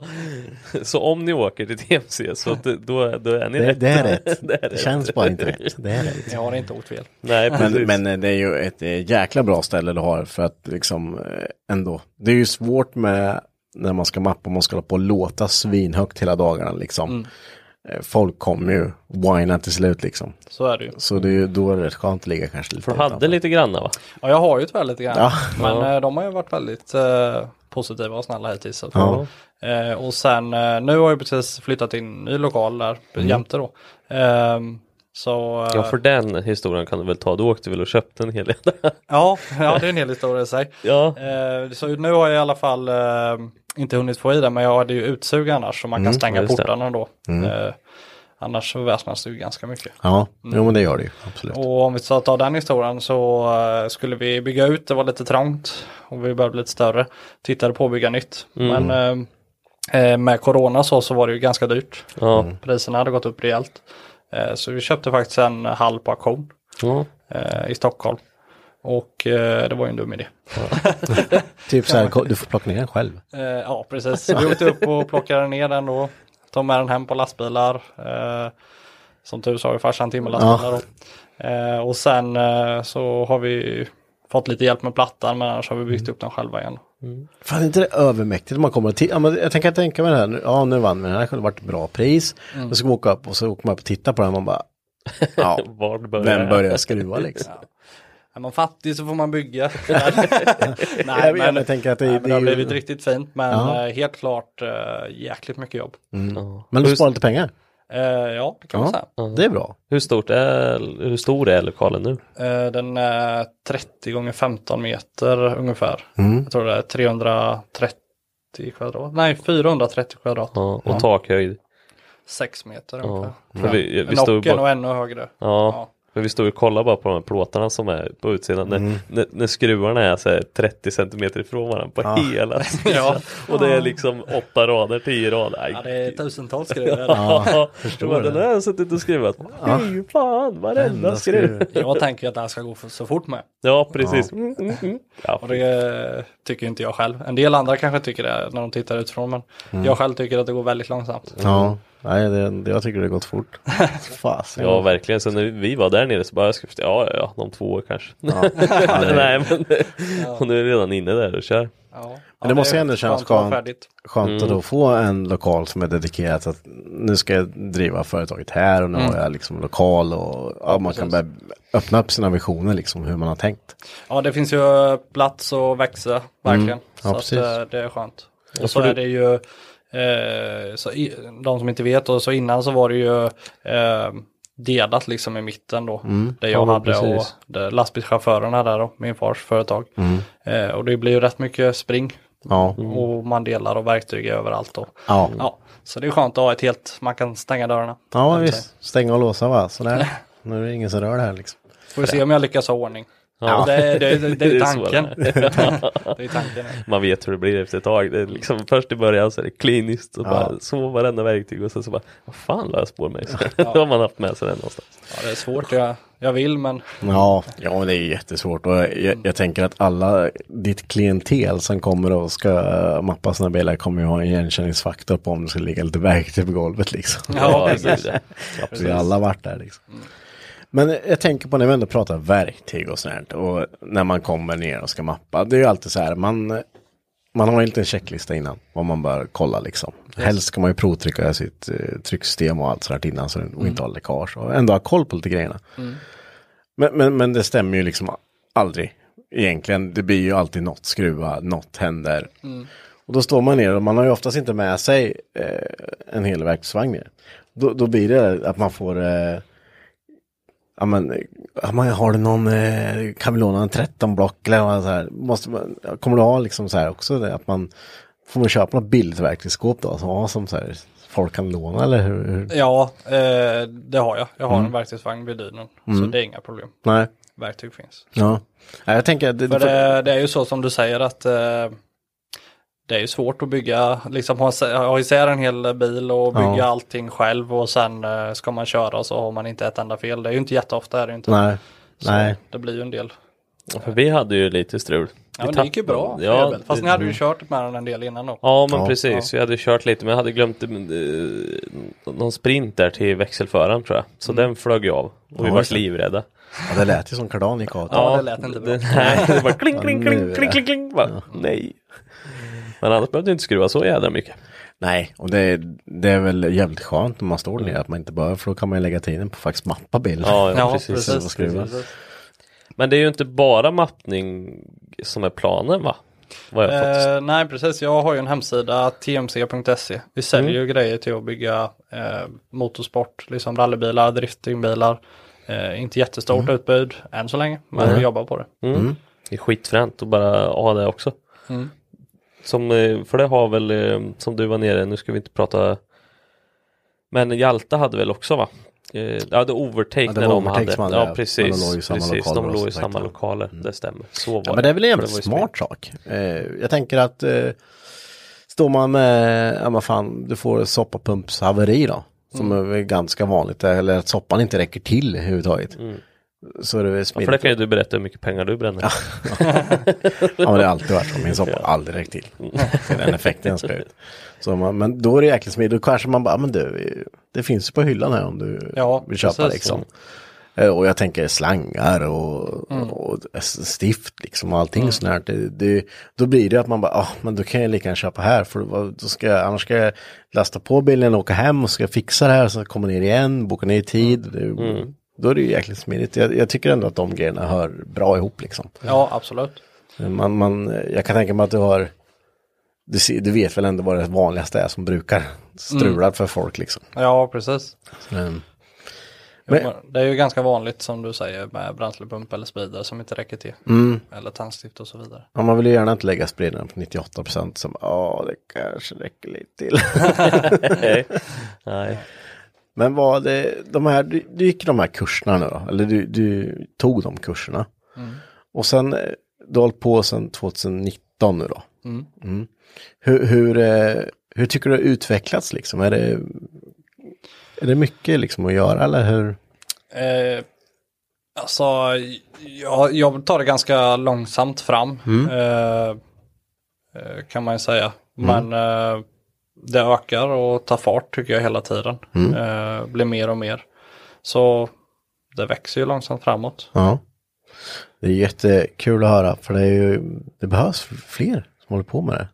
Speaker 2: Så om ni åker till DMC så att, då, då är ni
Speaker 1: Det,
Speaker 2: rätt.
Speaker 1: det är rätt.
Speaker 2: Det är
Speaker 1: Det känns bara inte rätt. Det är rätt.
Speaker 3: Jag har inte åkt fel.
Speaker 2: Nej precis.
Speaker 1: Men, men eh, det är ju ett eh, jäkla bra ställe du har för att liksom eh, ändå. Det är ju svårt med när man ska mappa, man ska hålla på och låta svinhögt hela dagarna liksom.
Speaker 2: Mm.
Speaker 1: Eh, Folk kommer ju whina till slut liksom.
Speaker 3: Så är det ju.
Speaker 1: Så det är ju, då är det rätt skönt att ligga kanske lite
Speaker 2: För de hade
Speaker 1: utanför.
Speaker 2: lite grannar va?
Speaker 3: Ja, jag har ju tyvärr lite grann.
Speaker 1: Ja.
Speaker 3: Men eh, de har ju varit väldigt eh, positiva och snälla hittills. Så.
Speaker 1: Ja.
Speaker 3: Eh, och sen, eh, nu har jag precis flyttat in en ny lokal där jämte då. Ehm, så, eh,
Speaker 2: Mm. Ja för den historien kan du väl ta, du åkte väl och köpte en hel del?
Speaker 3: eh, ja, ja, det är en hel historia i sig.
Speaker 2: ja.
Speaker 3: Eh, så nu har jag i alla fall eh, inte hunnit få i det, men jag hade ju utsug annars så man kan stänga
Speaker 2: Mm, just det. Mm.
Speaker 3: portarna då. Eh, annars så väsnas det ju ganska mycket.
Speaker 1: Ja,
Speaker 2: Mm.
Speaker 1: jo men det gör det ju. Absolut.
Speaker 3: Och om vi ska ta den historien så eh, skulle vi bygga ut, det var lite trångt och vi började bli lite större. Tittade på att bygga nytt.
Speaker 2: Mm.
Speaker 3: Men eh, eh, med corona så, så var det ju ganska dyrt. Mm.
Speaker 2: Ja.
Speaker 3: Priserna hade gått upp rejält. Eh, så vi köpte faktiskt en hall på auktion
Speaker 2: ja.
Speaker 3: eh, i Stockholm. Och eh, det var ju en dum idé.
Speaker 1: Typ så här, ko- du får plocka ner den själv.
Speaker 3: Eh, ja, precis. Vi åkte upp och plockade ner den då. Tog med den hem på lastbilar. Eh, som tur så har ju farsan till med lastbilar då. Eh, och sen eh, så har vi fått lite hjälp med plattan men annars har vi
Speaker 1: Mm.
Speaker 3: byggt upp den själva igen.
Speaker 1: Fan, är inte det övermäktigt om man kommer till, ja, men jag tänker tänka mig det här, nu- ja nu vann vi den här, det kunde varit ett bra pris.
Speaker 2: Mm.
Speaker 1: Och så åker man upp och så åker man upp och tittar på den, man bara, ja,
Speaker 2: Var började
Speaker 1: vem börjar skruva liksom?
Speaker 3: Är man fattig så får man bygga.
Speaker 1: Nej, men jag tänker att det,
Speaker 3: nej, men
Speaker 1: det
Speaker 3: det
Speaker 1: är
Speaker 3: har
Speaker 1: ju...
Speaker 3: blivit riktigt fint men
Speaker 1: Ja.
Speaker 3: eh, helt klart eh, jäkligt mycket jobb.
Speaker 2: Ja.
Speaker 1: Men du
Speaker 2: hur,
Speaker 1: sparar lite pengar.
Speaker 3: Eh, ja, det kan man säga.
Speaker 1: Det är bra.
Speaker 2: hur, stort är, hur stor är lokalen nu?
Speaker 3: Eh, den är 30 gånger 15 meter ungefär.
Speaker 1: Mm.
Speaker 3: Jag tror det är 330 kvadrat. Nej, 430 kvadrat.
Speaker 2: Ja. Och takhöjd?
Speaker 3: 6 meter
Speaker 2: Ja.
Speaker 3: ungefär.
Speaker 2: För vi, vi stod ju
Speaker 3: Nocken
Speaker 2: bara,
Speaker 3: och
Speaker 2: ja.
Speaker 3: ännu högre.
Speaker 2: För vi stod ju och kollade bara på de här plåtarna som är på utsidan. När, när, när skruvarna är så här 30 centimeter ifrån varandra på hela sidan.
Speaker 3: Ja.
Speaker 2: Och det är liksom åtta rader, tio rader. Aj,
Speaker 3: Ja, det är tusentals skruvar.
Speaker 2: Ja, men den har jag suttit och skruvat. Fy fan, varenda skruv.
Speaker 3: Jag tänker ju att det här ska gå för- så fort med.
Speaker 2: Ja, precis. Mm, mm, mm. Ja,
Speaker 3: Och det eh, tycker inte
Speaker 1: Mm.
Speaker 3: jag själv. En del andra kanske tycker det när de tittar utifrån men jag själv tycker att det går väldigt långsamt.
Speaker 1: Ja. Nej, det, det, jag tycker det har gått fort. Fasen.
Speaker 2: Ja verkligen, sen när vi var där nere så bara jag skulle, ja ja ja, de två år kanske.
Speaker 1: det-
Speaker 2: Nej men, och nu är vi redan inne där och kör.
Speaker 3: Ja.
Speaker 1: Men det måste ju ändå kännas skönt,
Speaker 3: färdigt.
Speaker 1: skönt att
Speaker 3: Mm.
Speaker 1: då få en lokal som är dedikerad. Så att nu ska jag driva företaget här och nu
Speaker 3: Mm.
Speaker 1: har jag liksom lokal och ja, man kan börja öppna upp sina visioner liksom hur man har tänkt.
Speaker 3: Ja, det finns ju plats att växa, verkligen.
Speaker 1: Mm. Ja,
Speaker 3: så att,
Speaker 1: precis.
Speaker 3: eh, det är skönt. Och så är det ju, eh, så i, de som inte vet, och så innan så var det ju eh, delat liksom i mitten då. Där jag
Speaker 1: Mm. Ja, men
Speaker 3: hade och
Speaker 1: precis. Mm.
Speaker 3: där lastbilschaufförerna där då, min fars företag. Eh, och det blir ju rätt mycket spring.
Speaker 1: Ja,
Speaker 3: Och man delar och verktyg överallt. Och,
Speaker 1: ja.
Speaker 3: ja, så det är skönt att ha ett helt, man kan stänga dörrarna.
Speaker 1: ja
Speaker 3: Kan jag säga.
Speaker 1: visst. Stänga och låsa va, sådär. Nu är det ingen som rör det här liksom.
Speaker 3: Får vi se om jag lyckas ha ordning.
Speaker 2: Ja.
Speaker 3: Det, det, det, det
Speaker 2: Det
Speaker 3: är
Speaker 2: är
Speaker 3: tanken.
Speaker 2: svårare.
Speaker 3: det är tanken.
Speaker 2: Man vet hur det blir efter ett tag. Det är liksom, först i början så är det kliniskt och
Speaker 1: Ja.
Speaker 2: bara så varenda verktyg och sen så bara, vad fan la jag spårmejsel? Då har man haft med sig den någonstans.
Speaker 3: Ja, det är svårt, jag, jag vill men
Speaker 1: Ja, ja men det är jättesvårt och jag, jag tänker att alla ditt klientel som kommer och ska eh, mappa sina bilar kommer ju ha en igenkänningsfaktor på om det ska ligga lite verktyg på golvet liksom.
Speaker 3: Ja,
Speaker 2: det är
Speaker 3: precis.
Speaker 2: det.
Speaker 1: Vi har alla varit där liksom. Men jag tänker på när vi ändå pratar verktyg och sånt här, och när man kommer ner och ska mappa. Det är ju alltid så här man, man har ju en liten checklista innan vad man bör kolla liksom. Helst ska man ju provtrycka sitt eh, trycksystem och allt sånt innan så det och inte har läckage och ändå ha koll på lite grejerna. Men, men, men det stämmer ju liksom aldrig egentligen. Det blir ju alltid något skruva, något händer. Och då står man ner och man har ju oftast inte med sig eh, en hel verktygsvagn ner. Då, då blir det att man får eh, Ja men, eh, ja, men har du någon eh, Camilona, en 13 block eller vad så här. Måste man, kommer du ha liksom så här också det, att man får man köpa något billigt verktygsskåp då som, ja, som så här, folk kan låna eller hur? hur?
Speaker 3: ja, eh, det har jag. Jag har
Speaker 2: Mm.
Speaker 3: en verktygsvagn vid dynen. Så det är inga problem.
Speaker 1: Nej,
Speaker 3: Verktyg finns.
Speaker 1: ja. Nej, jag tänker att det,
Speaker 3: För
Speaker 1: det-
Speaker 3: det, det är ju så som du säger att eh, det är ju svårt att bygga, liksom ha, ha isär en hel bil och bygga
Speaker 1: Ja.
Speaker 3: allting själv och sen eh, ska man köra och så har man inte ett enda fel. Det är ju inte jätteofta är det ju inte.
Speaker 1: nej,
Speaker 3: Så
Speaker 1: nej.
Speaker 3: Det blir ju en del.
Speaker 2: För vi hade ju lite strul. Vi
Speaker 3: Ja, men det gick ju
Speaker 2: tappade-
Speaker 3: bra.
Speaker 2: Ja,
Speaker 3: Fast ni hade ju kört med den en del innan då.
Speaker 2: Ja men
Speaker 1: Ja.
Speaker 2: precis, vi hade kört lite men jag hade glömt eh, någon sprint där till växelföraren tror jag. Så
Speaker 3: Mm.
Speaker 2: den flög ju av och vi
Speaker 1: Ja,
Speaker 2: var
Speaker 1: just det.
Speaker 2: livrädda.
Speaker 1: Ja, det lät ju som kardan gick av.
Speaker 3: Ja, det lät inte bra.
Speaker 2: nej, det var kling, kling,
Speaker 1: Ja, nu är
Speaker 2: kling, kling,
Speaker 1: det.
Speaker 2: kling, kling. Bara, Nej. Men annars behövde du inte skruva så jädra mycket.
Speaker 1: Nej, och det, det är väl jävligt skönt när man står ner att man inte behöver för då kan man ju lägga tiden på att faktiskt mappa bilen.
Speaker 2: Ja, ja, precis.
Speaker 1: Det var skruvat.
Speaker 2: Men det är ju inte bara mappning som är planen va? Vad jag har fått.
Speaker 3: Eh, nej, precis. Jag har ju en hemsida, tmc.se. Vi säljer ju
Speaker 2: Mm.
Speaker 3: grejer till att bygga eh, motorsport, liksom rallybilar, driftingbilar. Eh, inte jättestort utbud än så länge, men vi jobbar på det.
Speaker 2: Mm. Det är skitfränt att bara ha det också. Som, eh, för det har väl, eh, som du var nere, nu ska vi inte prata Men Hjalta hade väl också va? Eh, Ja, det Overtake
Speaker 1: Ja, det
Speaker 2: när
Speaker 1: var
Speaker 2: de
Speaker 1: Overtake
Speaker 2: hade.
Speaker 1: som hade det,
Speaker 2: Ja,
Speaker 1: men
Speaker 2: precis.
Speaker 1: de låg i samma
Speaker 2: precis.
Speaker 1: lokaler
Speaker 2: de
Speaker 1: och
Speaker 2: låg i
Speaker 1: så sagt,
Speaker 2: samma
Speaker 1: va?
Speaker 2: lokaler, det stämmer. Så var
Speaker 1: Mm. Ja, men det är väl
Speaker 2: För
Speaker 1: en jävligt
Speaker 2: var ju
Speaker 1: smart sak. Eh, jag tänker att eh, står man med, ja men fan, du får soppapumpshaveri då. Som
Speaker 2: Mm.
Speaker 1: är väl ganska vanligt, eller att soppan inte räcker till överhuvudtaget. Så är det
Speaker 2: Mm. Ja, för
Speaker 1: väl
Speaker 2: det
Speaker 1: smidigt.
Speaker 2: kan ju du berätta hur mycket pengar du bränner.
Speaker 1: Ja, men det har alltid varit så. Min soppa har aldrig räckt till.
Speaker 2: Mm.
Speaker 1: Så den effekten ska ut. Så man, men då är det jäkligt smidigt. Då kanske man bara, men du, det finns ju på hyllan här om du
Speaker 3: Ja,
Speaker 1: vill köpa
Speaker 3: precis.
Speaker 1: liksom. Eh, Och jag tänker slangar och, och s- stift liksom och allting sånt här. Det, det, då blir det att man bara, ah, men då kan jag lika gärna köpa här för då- då ska jag, annars ska jag lasta på bilen och åka hem och ska fixa det här så kommer ner igen, boka ner i tid. Det, Då är det ju jäkligt smidigt. Jag, jag tycker ändå att de grejerna hör bra ihop liksom.
Speaker 3: Ja, absolut.
Speaker 1: Man, man, jag kan tänka mig att du har, du, ser, du vet väl ändå vad det vanligaste är som brukar strula för folk liksom.
Speaker 3: Ja, precis.
Speaker 1: Mm.
Speaker 3: Men...
Speaker 1: Men-
Speaker 3: det är ju ganska vanligt som du säger med bränslepump eller speeder som inte räcker till.
Speaker 2: Mm.
Speaker 3: Eller tändstift och så vidare.
Speaker 1: Ja, man vill ju gärna inte lägga spridaren på 98 procent som, ja det kanske räcker lite till.
Speaker 2: Nej. Nej.
Speaker 1: Men vad det, de här, du, du gick de här kurserna nu då, eller du, du tog de kurserna. Och sen, eh, du har hållit på sedan 2019 nu då. Mm. Hur, hur, eh, hur tycker du det har utvecklats liksom? Är det, är det mycket liksom att göra eller hur?
Speaker 3: Eh, alltså, jag, jag tar det ganska långsamt fram. Eh, eh, kan man ju säga. Men eh, det ökar och tar fart tycker jag hela tiden. Eh, blir mer och mer. Så det växer ju långsamt framåt.
Speaker 1: Ja. Det är jättekul att höra för det, är ju, det behövs fler som håller på med det.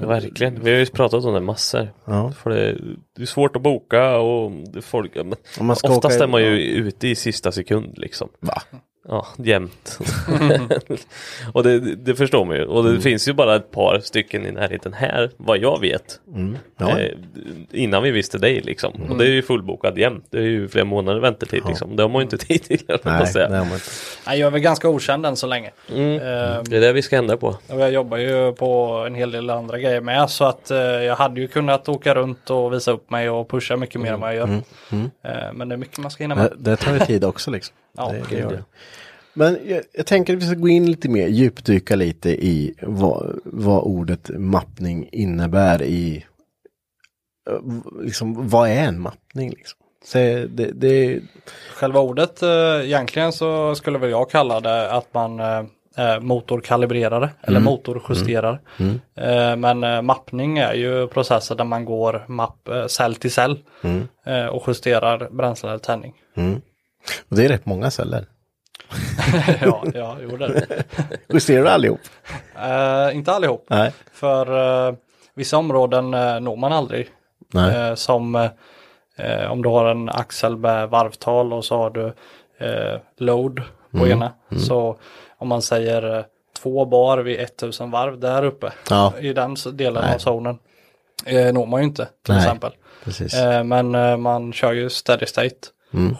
Speaker 2: Ja, verkligen, vi har ju pratat om det massor.
Speaker 1: Ja.
Speaker 2: För det, det är svårt att boka och det folk, ja, men
Speaker 1: Om man ska
Speaker 2: oftast
Speaker 1: åka-
Speaker 2: är man ju ute i sista sekund liksom.
Speaker 1: Va?
Speaker 2: Ja, jämt. och det, det förstår man ju. Och det
Speaker 1: Mm.
Speaker 2: finns ju bara ett par stycken i närheten här, vad jag vet.
Speaker 1: Ja. Mm.
Speaker 2: Eh, innan vi visste dig liksom. Och det är ju fullbokat jämt. Det är ju flera månader väntetid liksom. Det har man ju inte tid till. höll jag på att
Speaker 1: Nej,
Speaker 2: säga.
Speaker 1: nej, men,
Speaker 3: Nej, jag är väl ganska okänd än så länge. Eh,
Speaker 2: Det är det vi ska ändra på.
Speaker 3: och jag jobbar ju på en hel del andra grejer med så att eh, jag hade ju kunnat åka runt och visa upp mig och pusha mycket mer än vad jag gör. Eh, men det är mycket man ska hinna med.
Speaker 1: det, det tar ju tid också liksom.
Speaker 3: Ja,
Speaker 1: det, det
Speaker 3: gud,
Speaker 1: gör
Speaker 3: ja.
Speaker 1: det. Men jag, jag tänker att vi ska gå in lite mer, djupdyka lite i vad, vad ordet mappning innebär i, eh, v- liksom vad är en mappning liksom? Så det, det,
Speaker 3: Själva ordet eh, egentligen så skulle väl jag kalla det att man eh, är motorkalibrerare eller motorjusterare. Eh, men eh, mappning är ju processer där man går mapp, eh, cell till cell eh, och justerar bränsle eller tändning.
Speaker 1: och det är rätt många celler.
Speaker 3: ja, ja, jo, det är det.
Speaker 1: Justerar du allihop?
Speaker 3: Eh, inte allihop,
Speaker 1: Nej.
Speaker 3: för eh, vissa områden eh, når man aldrig.
Speaker 1: Nej.
Speaker 3: Eh, som eh, eh, om du har en axel med varvtal och så har du eh, load på
Speaker 1: Mm.
Speaker 3: ena. Så om man säger eh, två bar vid 1000 varv där uppe
Speaker 1: Ja.
Speaker 3: i den s- delen
Speaker 1: Nej.
Speaker 3: av zonen eh, når man ju inte till
Speaker 1: Nej.
Speaker 3: exempel.
Speaker 1: Precis. Mm.
Speaker 3: Eh, men eh, man kör ju steady state,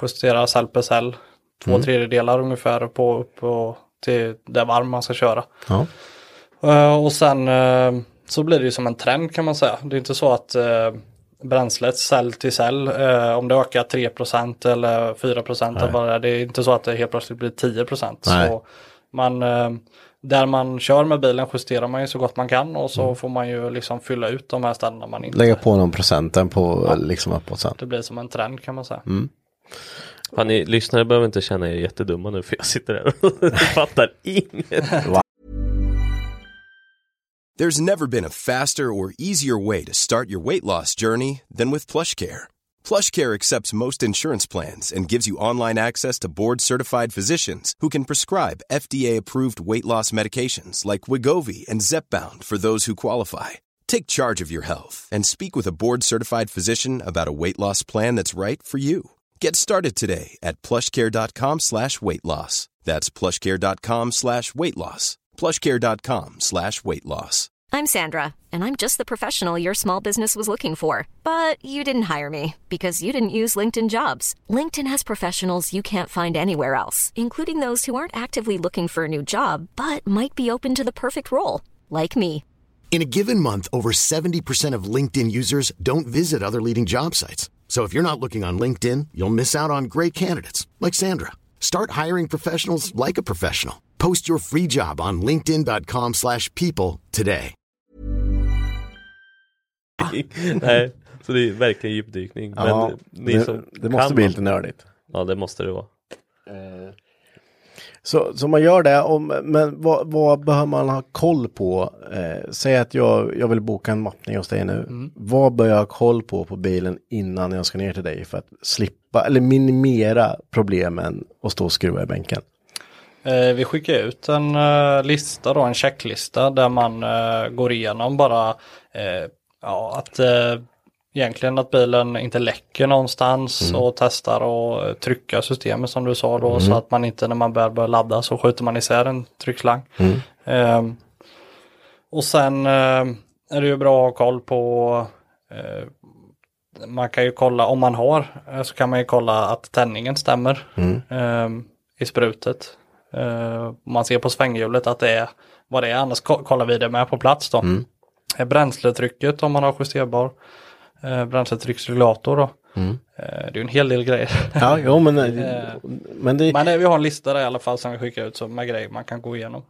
Speaker 3: justerar cell per cell, två tredjedelar ungefär på, upp och till det varv man ska köra.
Speaker 1: Ja.
Speaker 3: Eh, Och sen eh, så blir det ju som en trend kan man säga. Det är inte så att eh, bränslet cell till cell, eh, om det ökar 3 eller 4 eller vad det är, det är inte så att det helt plötsligt blir 10
Speaker 1: Nej.
Speaker 3: Så man, eh, där man kör med bilen justerar man ju så gott man kan och så får man ju liksom fylla ut de här ställena man inte...
Speaker 1: Mm. Lägga på någon procenten på liksom uppåt sen.
Speaker 3: Det blir som en trend kan man säga.
Speaker 2: Fan, ni lyssnare behöver inte känna er jättedumma nu för jag sitter här och fattar inget.
Speaker 4: There's never been a faster or easier way to start your weight loss journey than with PlushCare. PlushCare accepts most insurance plans and gives you online access to board-certified physicians who can prescribe FDA-approved weight loss medications like Wigovi and Zepbound for those who qualify. Take charge of your health and speak with a board-certified physician about a weight loss plan that's right for you. Get started today at plushcare.com slash weight loss. That's plushcare.com slash weight loss. plushcare.com slash weight loss.
Speaker 5: I'm Sandra, and I'm just the professional your small business was looking for. But you didn't hire me because you didn't use LinkedIn jobs. LinkedIn has professionals you can't find anywhere else, including those who aren't actively looking for a new job but might be open to the perfect role, like me.
Speaker 6: In a given month, over 70% of LinkedIn users don't visit other leading job sites. So if you're not looking on LinkedIn, you'll miss out on great candidates like Sandra. Start hiring professionals like a professional. Post your free job on linkedin.com/people slash people today.
Speaker 2: Nej, så det är verkligen djupdykning. Men
Speaker 1: Ja,
Speaker 2: ni
Speaker 1: det,
Speaker 2: som
Speaker 1: det måste
Speaker 2: kan-
Speaker 1: bli lite nördigt.
Speaker 2: Ja, det måste det vara.
Speaker 1: Eh, Så, så man gör det, om, men vad, vad behöver man ha koll på? Eh, säg att jag, jag vill boka en mappning hos dig nu. Vad bör jag ha koll på på bilen innan jag ska ner till dig för att slippa eller minimera problemen och stå och skruva i bänken?
Speaker 3: Eh, vi skickar ut en eh, lista då, en checklista där man eh, går igenom bara eh, ja, att eh, egentligen att bilen inte läcker någonstans och testar och eh, trycka systemet som du sa då så att man inte när man väl börjar ladda så skjuter man isär en tryckslang. Ehm, och sen eh, är det ju bra att ha koll på eh, man kan ju kolla, om man har, eh, så kan man ju kolla att tändningen stämmer ehm, i sprutet. Eh, man ser på svänghjulet att det är vad det är, annars ko- kollar vi det med på plats då. Eh, Bränsletrycket om man har justerbar eh, bränsletrycksregulator då. Eh, det är ju en hel del grejer. eh,
Speaker 1: Ja, jo, men, eh, men det,
Speaker 3: Men eh, vi har en lista där i alla fall som vi skickar ut så med grejer man kan gå igenom.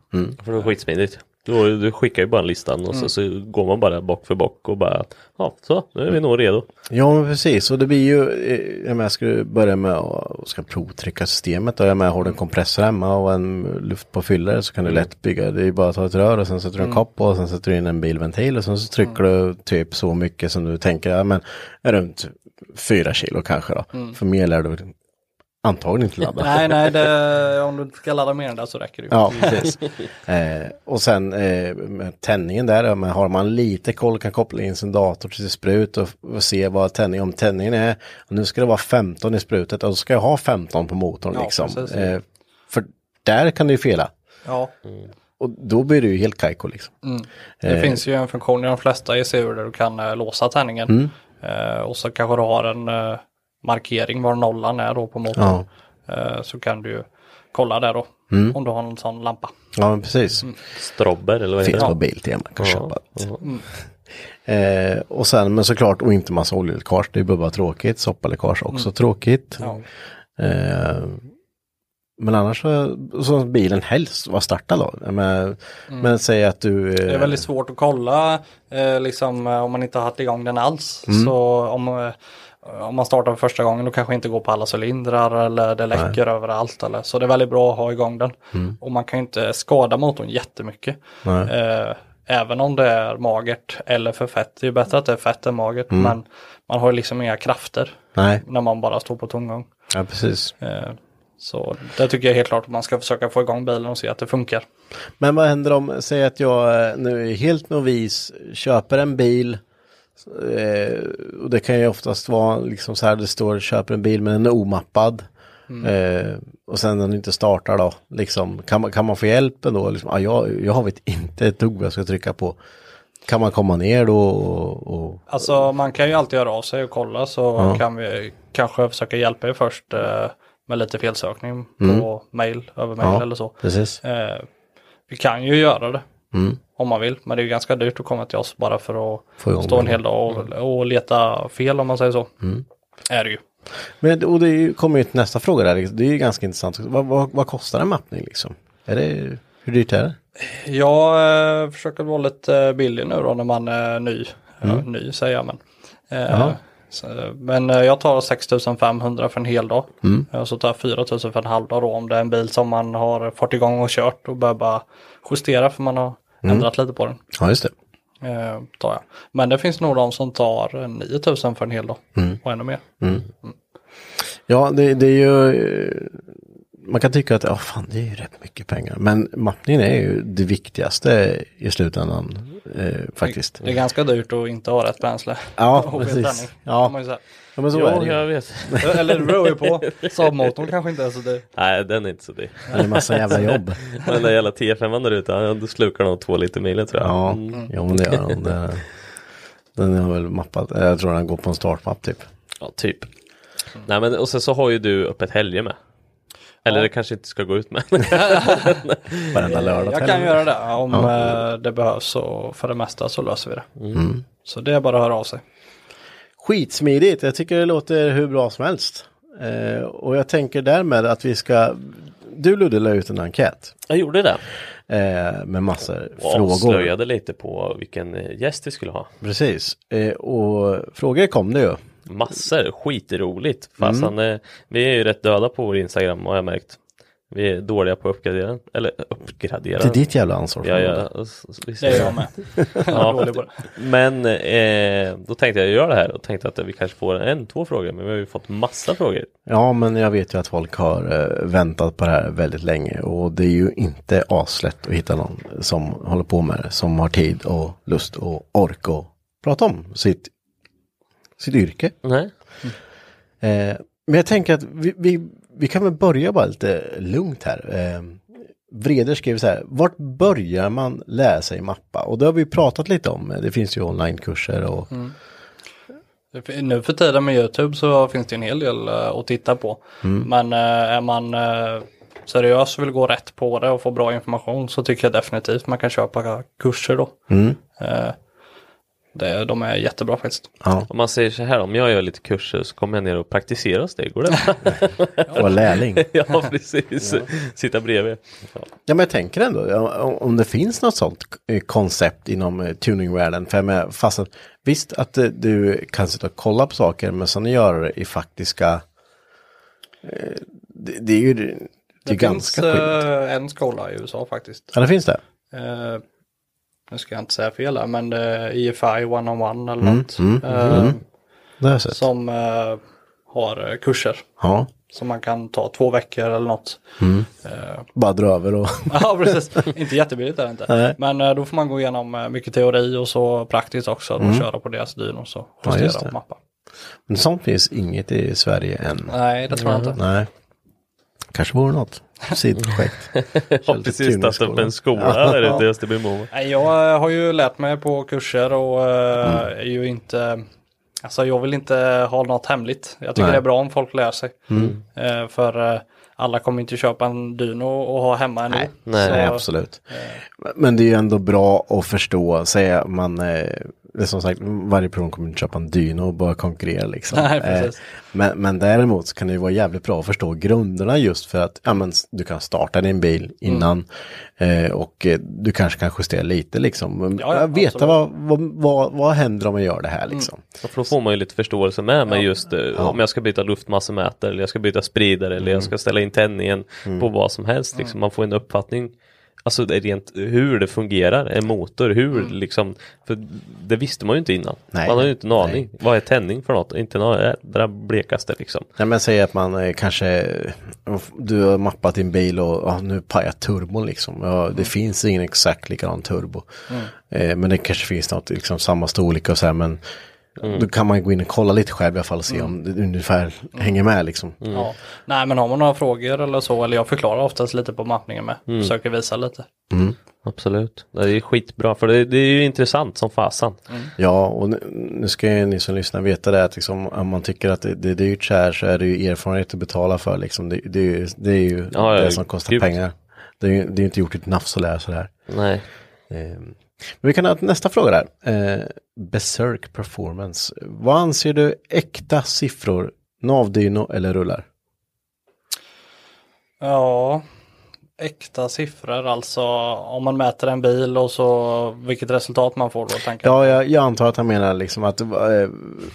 Speaker 2: För det var skitsmidigt. Mm. Då, du skickar ju bara listan och så, så går man bara bock för bock och bara ja, så nu är vi nog redo.
Speaker 1: Ja, men precis. Och det blir ju, eh, jag menar, jag ska börja med att ska provtrycka systemet. Och jag menar, har du en kompressor hemma och en luftpåfyllare så kan du lätt bygga. Det är ju bara att ta ett rör och sen sätter du en kopp på och sen sätter du in en bilventil. Och sen så trycker du typ så mycket som du tänker, ja men runt fyra kilo kanske då. För mer lär du antagligen inte ladda.
Speaker 3: Nej, nej, det, om du inte ska ladda mer än det så räcker det ju.
Speaker 1: Ja, precis. eh, och sen eh, med tändningen där, ja, men har man lite koll kan koppla in sin dator till sin sprut och, och se vad tändning, om tändningen är, och nu ska det vara 15 i sprutet och då ska jag ha 15 på motorn
Speaker 3: Ja,
Speaker 1: liksom.
Speaker 3: precis.
Speaker 1: Eh, för där kan det ju fela.
Speaker 3: Ja,
Speaker 1: Och då blir det ju helt kajko liksom.
Speaker 3: det finns ju en funktion i de flesta ECU där du kan eh, låsa tändningen. Eh, och så kanske du har en eh, markering var nollan är då på motorn.
Speaker 1: Ja.
Speaker 3: Eh, så kan du ju kolla där då, om du har en sån lampa.
Speaker 1: Ja, men precis.
Speaker 2: Strobber eller vad heter
Speaker 1: Finns
Speaker 2: det?
Speaker 1: på Biltema, kan
Speaker 2: Ja,
Speaker 1: köpa. Eh, och sen, men såklart, och inte massa oljeläckage, det är bara tråkigt. Soppaläckage också
Speaker 3: Mm.
Speaker 1: tråkigt. Eh, men annars så, så att bilen helst var startad då. Men, men säg att du... Eh,
Speaker 3: Mm. Det är väldigt svårt att kolla eh, liksom, eh, om man inte har haft igång den alls. Så om, eh, om man startar för första gången då kanske inte går på alla cylindrar eller det läcker överallt. Eller, så det är väldigt bra att ha igång den. Och man kan ju inte skada motorn jättemycket. Eh, även om det är magert eller för fett. Det är ju bättre att det är fett än magert. Men man har ju liksom inga krafter
Speaker 1: Nej,
Speaker 3: när man bara står på tomgång.
Speaker 1: ja, precis.
Speaker 3: Eh, så det tycker jag helt klart att man ska försöka få igång bilen och se att det funkar.
Speaker 1: Men vad händer om, säg att jag eh, nu är helt novis, köper en bil. Eh, och det kan ju oftast vara liksom så här, det står köper en bil men den är omappad.
Speaker 3: Mm.
Speaker 1: Eh, och sen den inte startar då, liksom, kan, man, kan man få hjälp ändå? Liksom, ah, jag, jag vet inte ett dugg vad jag ska trycka på. Kan man komma ner då och... och
Speaker 3: Alltså man kan ju alltid höra av sig och kolla så kan vi kanske försöka hjälpa er först eh, med lite felsökning på mail, över mail eller så.
Speaker 1: precis.
Speaker 3: Eh, vi kan ju göra det om man vill, men det är ju ganska dyrt att komma till oss bara för
Speaker 1: Få igång
Speaker 3: att stå en
Speaker 1: det.
Speaker 3: hel dag och, och leta fel om man säger så. Är det ju.
Speaker 1: Men, och det är ju- kommer ju till nästa fråga där, liksom. det är ju ganska intressant. Vad, vad, vad kostar en mappning liksom? Är det, hur dyrt är det?
Speaker 3: Jag eh, försöker vara lite eh, billig nu då när man är ny. Ja,
Speaker 1: Mm.
Speaker 3: ny säger jag men. Eh, så, men eh, jag tar 6500 för en hel dag.
Speaker 1: Mm.
Speaker 3: Eh, Så tar jag 4000 för en halv dag då om det är en bil som man har fått igång och kört och börjar bara justera för man har
Speaker 1: Mm.
Speaker 3: ändrat lite på den.
Speaker 1: Ja, just det.
Speaker 3: Eh, tar jag. Men det finns nog de som tar eh, 9000 för en hel dag
Speaker 1: Mm.
Speaker 3: och ännu mer.
Speaker 1: Ja, det, det är ju... eh, Man kan tycka att, ja fan, det är ju rätt mycket pengar. Men mappningen är ju det viktigaste i slutändan, eh, faktiskt.
Speaker 3: Det är ganska dyrt att inte ha rätt bränsle.
Speaker 1: Ja,
Speaker 3: Och vid
Speaker 1: precis.
Speaker 3: träning,
Speaker 1: Ja.
Speaker 3: kan man ju säga. Eh,
Speaker 1: Ja, men så är
Speaker 2: Ja,
Speaker 1: det ju.
Speaker 2: jag vet.
Speaker 3: Eller det beror ju på. Saab-motorn kanske inte är så dyr.
Speaker 2: Nej, den är inte så dyr.
Speaker 1: Det är massa jävla jobb.
Speaker 2: Den där jävla T5an där ute, ja, då slukar de två liter milen tror jag.
Speaker 1: Ja,
Speaker 3: Mm.
Speaker 1: ja men det gör den. Det- Den har väl mappat, eh, jag tror den går på en startmapp typ.
Speaker 2: Ja, typ. Nej, men och sen så har ju du öppet helger med. Eller det kanske inte ska gå ut med.
Speaker 1: Varenda lördag.
Speaker 3: Eh, Jag kan göra det om eh, det behövs och för det mesta så löser vi det.
Speaker 1: Mm.
Speaker 3: Så det är bara att höra av sig.
Speaker 1: Skitsmidigt, jag tycker det låter hur bra som helst. Eh, och jag tänker därmed att vi ska, du Ludde la ut en enkät
Speaker 2: Jag gjorde det.
Speaker 1: eh, med massor
Speaker 2: Och
Speaker 1: frågor.
Speaker 2: avslöjade lite på vilken eh, gäst vi skulle ha.
Speaker 1: Precis, eh, och frågor kom det ju.
Speaker 2: Massor, skitroligt.
Speaker 1: Mm.
Speaker 2: Fasen, eh, vi är ju rätt döda på vår Instagram har jag märkt. Vi är dåliga på att uppgradera den. Eller uppgradera
Speaker 1: Det
Speaker 2: den.
Speaker 1: är ditt jävla ansvar.
Speaker 2: Ja, ja. och s- s- visst
Speaker 3: Det är jag med.
Speaker 2: Ja.
Speaker 3: Dålig på det.
Speaker 2: Men eh, då tänkte jag göra det här och tänkte att vi kanske får en, två frågor. Men vi har ju fått massa frågor.
Speaker 1: ja, men jag vet ju att folk har eh, väntat på det här väldigt länge och det är ju inte aslätt att hitta någon som håller på med det, som har tid och lust och ork att prata om sitt, sitt yrke.
Speaker 2: Nej.
Speaker 1: Eh, men jag tänker att vi, vi, vi kan väl börja bara lite lugnt här. Eh, Vreder skrev så här, vart börjar man lära sig mappa? Och det har vi ju pratat lite om, det finns ju onlinekurser och
Speaker 3: Nu för tiden med YouTube så finns det en hel del eh, att titta på.
Speaker 1: Mm.
Speaker 3: Men eh, är man eh, seriös och vill gå rätt på det och få
Speaker 1: Mm.
Speaker 3: bra information så tycker jag definitivt man kan köpa kurser då. Eh, Det, de är jättebra faktiskt.
Speaker 1: Ja,
Speaker 2: Om man säger så här, om jag gör lite kurser så kommer jag ner och praktiserar steg. Går det?
Speaker 1: och lärling.
Speaker 2: ja, precis. Sitta bredvid. Ja.
Speaker 1: Ja, men jag tänker ändå ja, om- om det finns något sånt eh, koncept inom eh, tuningvärlden. För jag menar, fast att, visst att eh, du kan sitta och kolla på saker, men sen göra det i faktiska... eh, Det, det är ju det är
Speaker 3: Det
Speaker 1: ganska
Speaker 3: finns
Speaker 1: sjukt.
Speaker 3: eh, en skola i USA faktiskt.
Speaker 1: Ja, det finns det.
Speaker 3: Eh, nu ska jag inte säga fel här, men eh, EFI 101 eller
Speaker 1: Mm,
Speaker 3: något. eh,
Speaker 1: Det har jag sett.
Speaker 3: Som eh, har eh, kurser
Speaker 1: Ja,
Speaker 3: som man kan ta två veckor eller något.
Speaker 1: bara dra över och...
Speaker 3: Ja, precis. inte jättebilligt är det inte. Men eh, då får man gå igenom eh, mycket teori och så praktiskt också. Och köra på deras dyn och så
Speaker 1: Mm. Ja,
Speaker 3: justera
Speaker 1: just det.
Speaker 3: på mappar.
Speaker 1: Men sånt finns inget i Sverige än.
Speaker 3: Nej, det tror
Speaker 1: Mm.
Speaker 3: jag inte.
Speaker 1: Nej. Kanske vore något. Sidprojekt.
Speaker 2: Ja, precis. Startat upp en skola där ute i Österbymo.
Speaker 3: Nej, jag eh, har ju lärt mig på kurser och eh, är ju inte... Alltså jag vill inte ha något hemligt. Jag tycker
Speaker 1: Nej.
Speaker 3: det är bra om folk lär sig. Eh, för eh, alla kommer inte köpa en dyno och ha hemma ändå.
Speaker 1: Nej, absolut.
Speaker 3: eh,
Speaker 1: Men det är ju ändå bra att förstå, säga man, eh, det är som sagt, varje person kommer inte köpa en dyno och bara konkurrera liksom.
Speaker 3: Nej, precis.
Speaker 1: Eh, Men, men däremot så kan det ju vara jävligt bra att förstå grunderna just för att ja, men, s- du kan starta din bil innan eh, och eh, du kanske kan justera lite liksom.
Speaker 3: Mm. Ja, ja,
Speaker 1: Ja, Veta
Speaker 3: absolut. Mm.
Speaker 1: vad, vad, vad, vad händer om jag gör det här liksom.
Speaker 2: Och För då får man ju lite förståelse med mig just eh, om jag ska byta luftmassemätare eller jag ska byta spridare eller jag ska ställa in tändningen på vad som helst. Liksom. Man får en uppfattning, alltså det är rent hur det fungerar, en motor, hur liksom, för det visste man ju inte innan.
Speaker 1: Nej.
Speaker 2: man har ju inte en
Speaker 1: Nej.
Speaker 2: aning, vad är tändning för något? Inte något, det där blekaste liksom.
Speaker 1: Nej men säg att man eh, kanske, eh, du har mappat din bil och ja, nu pajar turbon liksom. Ja, det
Speaker 2: Mm.
Speaker 1: finns ingen exakt likadan turbo. Eh, men det kanske finns något, liksom samma storlek och så här men
Speaker 2: Mm.
Speaker 1: då kan man gå in och kolla lite själv i alla fall och se om det ungefär
Speaker 2: Mm.
Speaker 1: hänger med liksom.
Speaker 3: Ja. Nej, men har man några frågor eller så, eller jag förklarar oftast lite på mappningen med. Försöker visa lite.
Speaker 2: Absolut, det är skitbra för det, det är ju intressant som fasan.
Speaker 1: Ja, och nu, nu ska ju ni som lyssnar veta det att liksom, om man tycker att det, det är dyrt så här så är det ju erfarenhet att betala för liksom. Det, det, är ju- det är ju
Speaker 2: Ja, ja,
Speaker 1: det som kostar
Speaker 2: gud.
Speaker 1: pengar. Det är ju det är inte gjort i ett nafs att lära sig det här.
Speaker 2: Nej.
Speaker 1: Eh, Men vi kan ha nästa fråga där. Eh, Berserk Performance. Vad anser du äkta siffror? Navdyno eller rullar?
Speaker 3: Ja, äkta siffror alltså. Om man mäter en bil och så vilket resultat man får då. Tänker jag.
Speaker 1: Ja, jag, jag antar att han menar liksom att eh,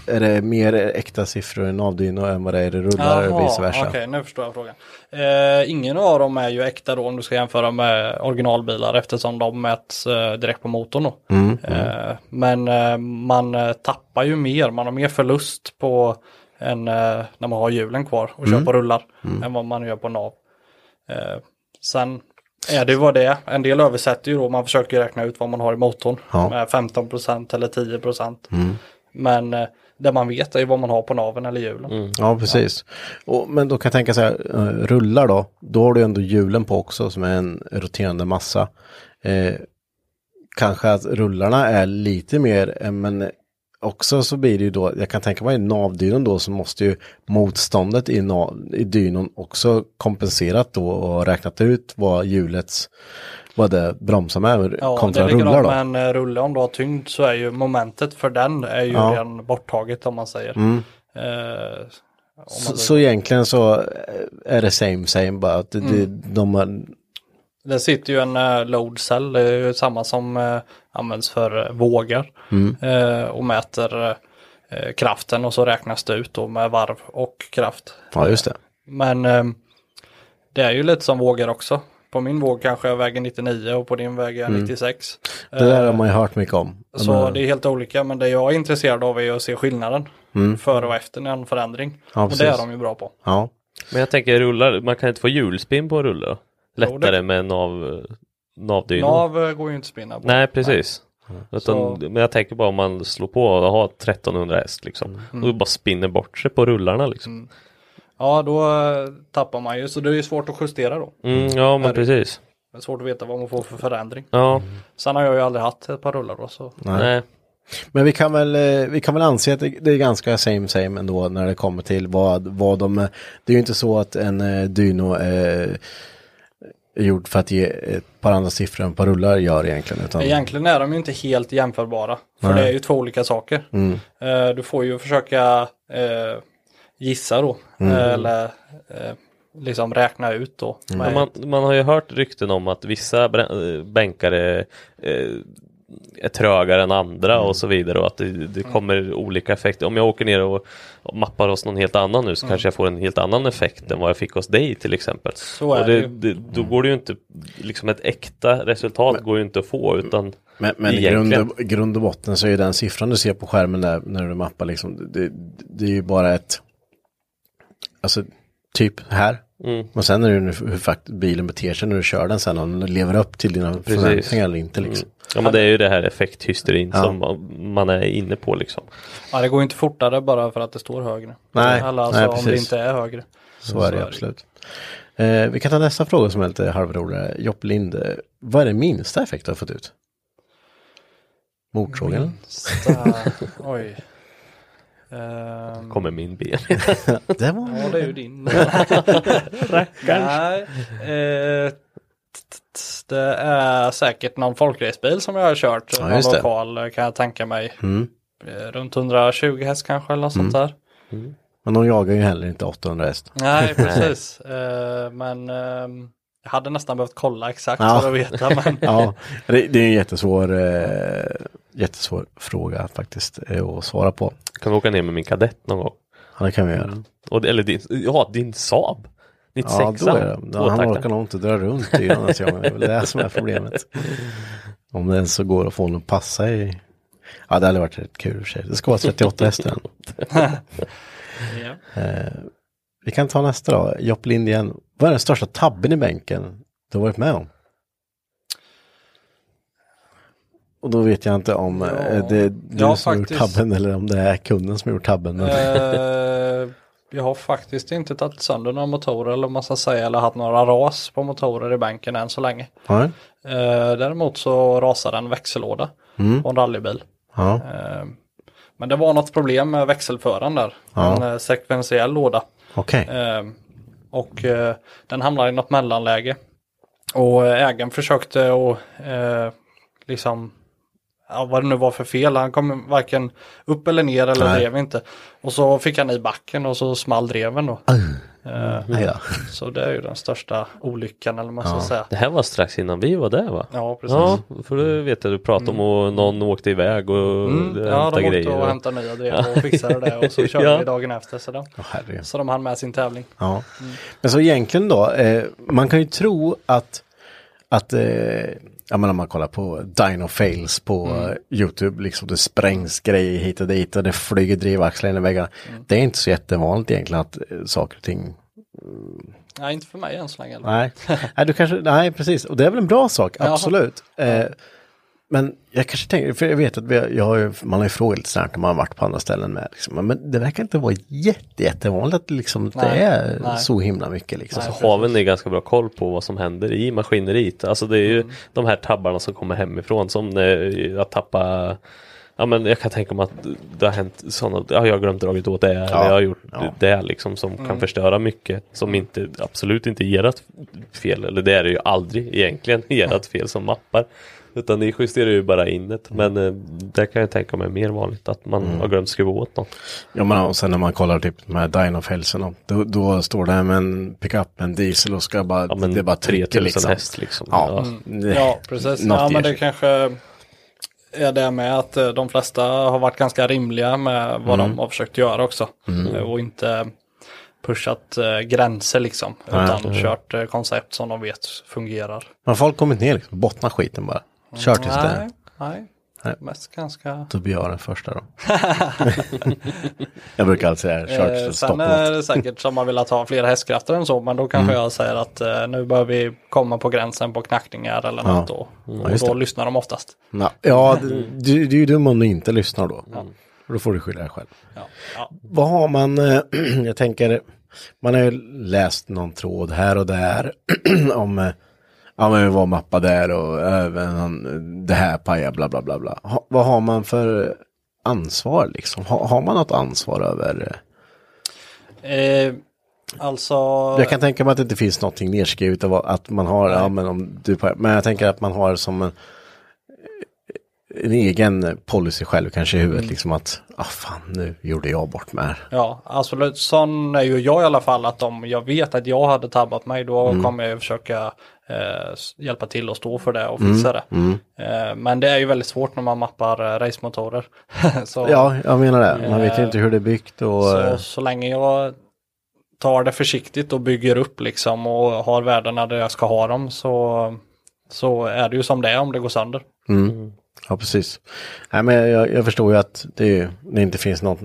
Speaker 1: är det mer äkta siffror i Navdyno än vad det är i rullar och
Speaker 3: Jaha,
Speaker 1: vice versa?
Speaker 3: Okej, nu förstår jag frågan. Eh, ingen av dem är ju äkta då om du ska jämföra med originalbilar eftersom de mäts eh, direkt på motorn då.
Speaker 1: Mm,
Speaker 3: Eh, men eh, man eh, tappar ju mer, man har mer förlust på en, eh, när man har hjulen kvar och
Speaker 1: Mm.
Speaker 3: kör på rullar än vad man gör på nav. Eh, sen är det ju vad det är. En del översätter ju då, man försöker ju räkna ut vad man har i motorn
Speaker 1: Ja. Mm.
Speaker 3: med 15 eller 10 Men eh, det man vet är ju vad man har på naven eller hjulen.
Speaker 1: Ja, precis. Och, men då kan jag tänka så här, eh, rullar då, då har du ändå hjulen på också som är en roterande massa. Eh, kanske att rullarna är lite mer, eh, men också så blir det ju då, jag kan tänka mig i navdynon då så måste ju motståndet i, nav, i dynon också kompenserat då och räknat ut vad hjulets, vad det bromsar med
Speaker 3: Ja,
Speaker 1: kontra
Speaker 3: det är likadant
Speaker 1: rullar då.
Speaker 3: med en eh, rulle om du har tyngd så är ju momentet för den är ju
Speaker 1: Ja. Mm.
Speaker 3: redan borttaget om man säger. Eh, om
Speaker 1: Så,
Speaker 3: man
Speaker 1: så egentligen så eh, är det same same bara att
Speaker 3: Mm.
Speaker 1: det, det, de har,
Speaker 3: Det sitter ju en eh, load cell, det är ju samma som eh, används för eh, vågar
Speaker 1: Mm.
Speaker 3: eh, och mäter eh, kraften och så räknas det ut då med varv och kraft.
Speaker 1: ja just det.
Speaker 3: Men eh, det är ju lite som vågar också. På min våg kanske jag väger 99 och på din väger
Speaker 1: Mm.
Speaker 3: jag 96.
Speaker 1: Det
Speaker 2: Eh,
Speaker 1: där har man ju hört mycket om.
Speaker 3: Så
Speaker 1: Men-
Speaker 3: det är helt olika, men det jag är intresserad av är att se skillnaden före och efter en förändring.
Speaker 1: Mm. Ja,
Speaker 3: och det är
Speaker 1: precis.
Speaker 3: de ju bra på.
Speaker 1: Ja,
Speaker 2: Men jag tänker rullar, man kan inte få hjulspinn på rullar?
Speaker 3: Jo,
Speaker 2: Lättare
Speaker 3: det-
Speaker 2: med en nav, eh, navdyno?
Speaker 3: Nav eh, går ju inte att spinna på.
Speaker 2: Nej precis. Utan,
Speaker 3: Så-
Speaker 2: Men jag tänker bara om man slår på och har 1300 häst liksom.
Speaker 3: Mm.
Speaker 2: Och bara spinner bort sig på rullarna liksom.
Speaker 3: Ja, då eh, tappar man ju, så det är ju svårt att justera då.
Speaker 2: Mm, ja men precis.
Speaker 3: Det Mm. är svårt att veta vad man får för förändring.
Speaker 2: Ja,
Speaker 3: Sen har jag ju aldrig haft ett par rullar då, så
Speaker 2: nej.
Speaker 1: men vi kan väl, eh, vi kan väl anse att det det är ganska same same ändå när det kommer till vad, vad de, eh, det är ju inte så att en eh, dyno eh, är gjord för att ge ett par andra siffror än vad rullar gör egentligen. Utan,
Speaker 3: Egentligen är de ju inte helt jämförbara. För
Speaker 1: Nej.
Speaker 3: det är ju två olika saker.
Speaker 1: Mm.
Speaker 3: Eh, Du får ju försöka eh, gissa då.
Speaker 2: Mm.
Speaker 3: Eller eh, liksom räkna ut då.
Speaker 2: Men
Speaker 3: Vad är-
Speaker 2: Man, man har ju hört rykten om att vissa brä- eh, bänkare eh, är trögare än andra
Speaker 3: Mm.
Speaker 2: och så vidare och att det, det kommer olika effekter. Om jag åker ner och och mappar hos någon helt annan nu så
Speaker 3: Mm.
Speaker 2: kanske jag får en helt annan effekt än vad jag fick hos dig till exempel.
Speaker 3: Så är
Speaker 2: och
Speaker 3: det ju. Mm.
Speaker 2: det, Då går det ju inte, liksom ett äkta resultat går ju inte att få utan
Speaker 1: Men, men i
Speaker 2: egentligen.
Speaker 1: grund och, grund och botten så är ju den siffran du ser på skärmen där när du mappar liksom, det, det är ju bara ett, alltså typ här.
Speaker 2: Mm.
Speaker 1: Och sen är det ju hur, hur fakt- bilen beter sig när du kör den sen, om den lever upp till dina
Speaker 2: Precis.
Speaker 1: förväntningar eller inte liksom.
Speaker 2: Mm. Ja men det är ju det här effekthysterin
Speaker 1: Ja.
Speaker 2: som man är inne på liksom.
Speaker 3: Ja, det går ju inte fortare bara för att det står högre.
Speaker 1: Nej,
Speaker 3: Eller alltså
Speaker 1: nej,
Speaker 3: om det
Speaker 1: precis.
Speaker 3: inte är högre.
Speaker 1: Så är det absolut. Eh, vi kan ta nästa fråga som är lite halvroligare. Jopp Lind, eh, vad är det minsta effekt du har fått ut? Mordfrågan?
Speaker 3: Minsta- Oj. Ehm,
Speaker 2: Kommer min ben.
Speaker 1: Det var...
Speaker 3: Ja, det är ju din.
Speaker 2: Rackarns.
Speaker 3: Nej. Eh, t- t- t- det är säkert någon folkracebil som jag har kört.
Speaker 1: Ja, just
Speaker 3: någon
Speaker 1: det.
Speaker 3: lokal eh, kan jag tänka mig.
Speaker 1: Mm.
Speaker 3: Eh, Runt 120 häst kanske eller något sånt där.
Speaker 1: Men de jagar ju heller inte 800 häst.
Speaker 3: Nej, precis. Eh, men ehm, jag hade nästan behövt kolla exakt
Speaker 1: Ja.
Speaker 3: för att veta. Men
Speaker 1: Ja, det, det är en jättesvår, eh, jättesvår fråga faktiskt eh, att svara på.
Speaker 2: Kan vi åka ner med min kadett någon gång? Mm.
Speaker 1: Ja, det kan vi göra.
Speaker 2: Och, eller din, ja, din Saab. 96
Speaker 1: Ja, då är det. Ja, han orkar
Speaker 2: Tvåtaktaren.
Speaker 1: nog inte dra runt i den ens en gång. Det är väl det som är problemet. Om det ens så går att få honom att passa i... Ja, det hade varit rätt kul i och för sig. Det ska vara 38 hästar.
Speaker 3: ja.
Speaker 1: Eh, vi kan ta nästa då. Jopp Lind igen. Vad är den största tabben i bänken du har varit med om? Och då vet jag inte om eh, det är du
Speaker 3: Ja,
Speaker 1: som har gjort
Speaker 3: faktiskt.
Speaker 1: tabben eller om det är kunden som har gjort tabben. Men,
Speaker 3: Eh, jag har faktiskt inte tagit sönder några motorer eller vad man ska säga eller haft några ras på motorer i bänken än så länge.
Speaker 1: ja.
Speaker 3: Eh, däremot så rasade en växellåda
Speaker 1: Mm.
Speaker 3: på en rallybil.
Speaker 1: Ja.
Speaker 3: Eh, men det var något problem med växelföraren där.
Speaker 1: Ja.
Speaker 3: En eh, sekventiell låda.
Speaker 1: Okej.
Speaker 3: Eh, och eh, den hamnade i något mellanläge. Och eh, ägaren försökte och eh, liksom ja, vad det nu var för fel. Han kom varken upp eller ner eller
Speaker 1: Nej.
Speaker 3: drev inte. Och så fick han i backen och så small dreven då. Eh,
Speaker 1: Nej då.
Speaker 3: så det är ju den största olyckan eller vad man ska säga.
Speaker 2: Det här var strax innan vi var där va?
Speaker 3: Ja, precis.
Speaker 2: Ja, för det vet jag du pratade om och någon åkte iväg och
Speaker 3: Mm,
Speaker 2: mm,
Speaker 3: ja, de
Speaker 2: hämtade
Speaker 3: åkte
Speaker 2: grejer.
Speaker 3: och hämtade nya drev och fixade det och så körde
Speaker 2: Ja.
Speaker 3: vi dagen efter. Så de,
Speaker 1: Åh, herregud.
Speaker 3: så de hann med sin tävling.
Speaker 1: Ja.
Speaker 3: Mm.
Speaker 1: Men så egentligen då, eh, man kan ju tro att, att eh, jag menar om man kollar på Dino Fails på
Speaker 3: Mm.
Speaker 1: eh, YouTube, liksom det sprängs grejer hit och dit och det flyger drivaxlar in i väggarna.
Speaker 3: Mm.
Speaker 1: Det är inte så jättevanligt egentligen att eh, saker och ting,
Speaker 3: Nej, inte för mig än så länge. eller?
Speaker 1: nej, nej, du kanske, nej precis, och det är väl en bra sak,
Speaker 3: Ja.
Speaker 1: absolut. Eh, men jag kanske tänker, för jag vet att vi har, jag har ju, man har ju frågat lite snart om man har varit på andra ställen med. Liksom. Men det verkar inte vara jätte, jättevanligt att liksom, det
Speaker 3: Nej,
Speaker 1: är
Speaker 3: nej.
Speaker 1: så himla mycket. Liksom.
Speaker 3: Nej.
Speaker 2: Så har väl ni ganska bra koll på vad som händer i maskineriet. Alltså det är ju
Speaker 1: Mm.
Speaker 2: de här tabbarna som kommer hemifrån som när jag tappar Ja men jag kan tänka mig att det har hänt sådana, ja, jag har glömt dragit åt det, eller jag har gjort
Speaker 1: Ja. Mm.
Speaker 2: det liksom som kan förstöra mycket som inte, absolut inte är ert fel, eller det är det ju aldrig egentligen ert fel som mappar. Utan ni justerar ju bara in det,
Speaker 1: Mm.
Speaker 2: men eh, där kan jag tänka mig mer vanligt att man har glömt skruva åt något.
Speaker 1: Ja, men och sen när man kollar typ de här Dino-fälsen, då, då står det här med en pickup, en diesel och ska bara,
Speaker 2: Ja men
Speaker 1: det bara trycker
Speaker 2: 3000
Speaker 1: liksom.
Speaker 2: häst liksom.
Speaker 1: Ja, det-
Speaker 3: Mm. Ja, precis.
Speaker 1: något
Speaker 3: Ja, men
Speaker 1: ger
Speaker 3: det
Speaker 1: sig.
Speaker 3: kanske är det med att eh, de flesta har varit ganska rimliga med vad
Speaker 1: Mm.
Speaker 3: de har försökt göra också. Eh, Och inte pushat eh, gränser liksom. Utan kört eh, koncept som de vet fungerar.
Speaker 1: Men folk kommit ner liksom, bottna skiten bara. Kör tills
Speaker 3: nej,
Speaker 1: det.
Speaker 3: nej.
Speaker 1: Nej.
Speaker 3: Mest ganska...
Speaker 1: Då blir jag den första då. jag brukar alltid säga kör tills
Speaker 3: Eh,
Speaker 1: det
Speaker 3: sen
Speaker 1: stoppar
Speaker 3: är
Speaker 1: något.
Speaker 3: det säkert som man vill ha fler hästkrafter än så, men då kanske
Speaker 1: Mm.
Speaker 3: jag säger att eh, nu börjar vi komma på gränsen på knackningar eller
Speaker 1: Ja.
Speaker 3: något då. Och
Speaker 1: just
Speaker 3: då
Speaker 1: det.
Speaker 3: lyssnar de oftast.
Speaker 1: Ja, Ja, du, du, du är ju dum om du inte lyssnar då. Då får du skylla dig själv.
Speaker 3: Ja. Ja.
Speaker 1: Vad har man, eh, jag tänker, man har ju läst någon tråd här och där om, eh, ja men vi var mappa där och även han- det här pajar bla bla bla bla. Ha, vad har man för ansvar liksom? Ha, har man något ansvar över, eh,
Speaker 3: Eh, Alltså,
Speaker 1: Jag kan tänka mig att det inte finns någonting nerskrivet av att man har, ja, men, om du, men jag tänker att man har som en, en egen policy själv kanske i huvudet, liksom att, ah fan nu gjorde jag bort mig här.
Speaker 3: ja, absolut. Sån är ju jag i alla fall att om jag vet att jag hade tabbat mig då
Speaker 1: Mm.
Speaker 3: kommer jag ju försöka eh, s- hjälpa till och stå för det och
Speaker 1: Mm,
Speaker 3: fixa det. Eh, men det är ju väldigt svårt när man mappar eh, racemotorer. så,
Speaker 1: Ja, jag menar det. Man vet ju inte hur det är byggt och...
Speaker 3: Eh,
Speaker 1: eh,
Speaker 3: så, så länge jag tar det försiktigt och bygger upp liksom och har värdena där jag ska ha dem så, så är det ju som det är om det går sönder.
Speaker 1: Mm. Ja, precis. Nej, men jag, jag förstår ju att det, det inte finns något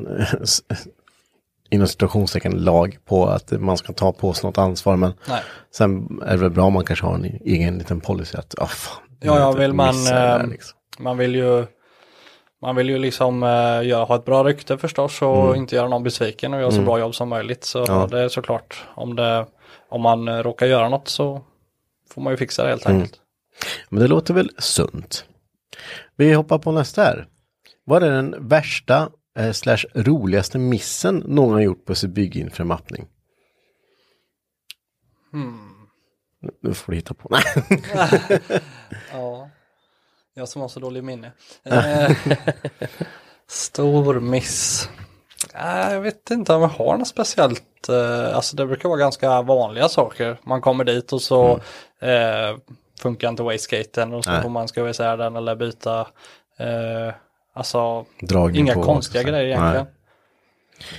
Speaker 1: inom situationstecken lag på att man ska ta på sig något ansvar. Men
Speaker 3: Nej.
Speaker 1: sen är det väl bra om man kanske har en egen liten policy att, ah fan,
Speaker 3: Ja, ja, vill man,
Speaker 1: missa det där,
Speaker 3: eh,
Speaker 1: liksom.
Speaker 3: Man vill ju man vill ju liksom eh, göra, ha ett bra rykte förstås och inte göra någon besviken och göra så bra jobb som möjligt. Så
Speaker 1: Mm. Ja.
Speaker 3: det är såklart om, det, om man eh, råkar göra något så får man ju fixa det
Speaker 1: Mm.
Speaker 3: helt enkelt.
Speaker 1: Men det låter väl sunt. Vi hoppar på nästa här. Vad är den värsta eh, slash roligaste missen någon har gjort på sin bygginframappning? Hmm. Nu får du hitta på. Nej.
Speaker 3: Ja. Jag som har så dålig minne. Eh, Stor miss. Nej, jag vet inte om jag har något speciellt. eh, Alltså det brukar vara ganska vanliga saker. Man kommer dit och så eh, funkar inte wastegaten och så
Speaker 1: Mm. Nej.
Speaker 3: får man skriva isär den eller byta. Eh, alltså
Speaker 1: Dragning
Speaker 3: inga
Speaker 1: på-
Speaker 3: konstiga grejer
Speaker 1: Nej.
Speaker 3: egentligen.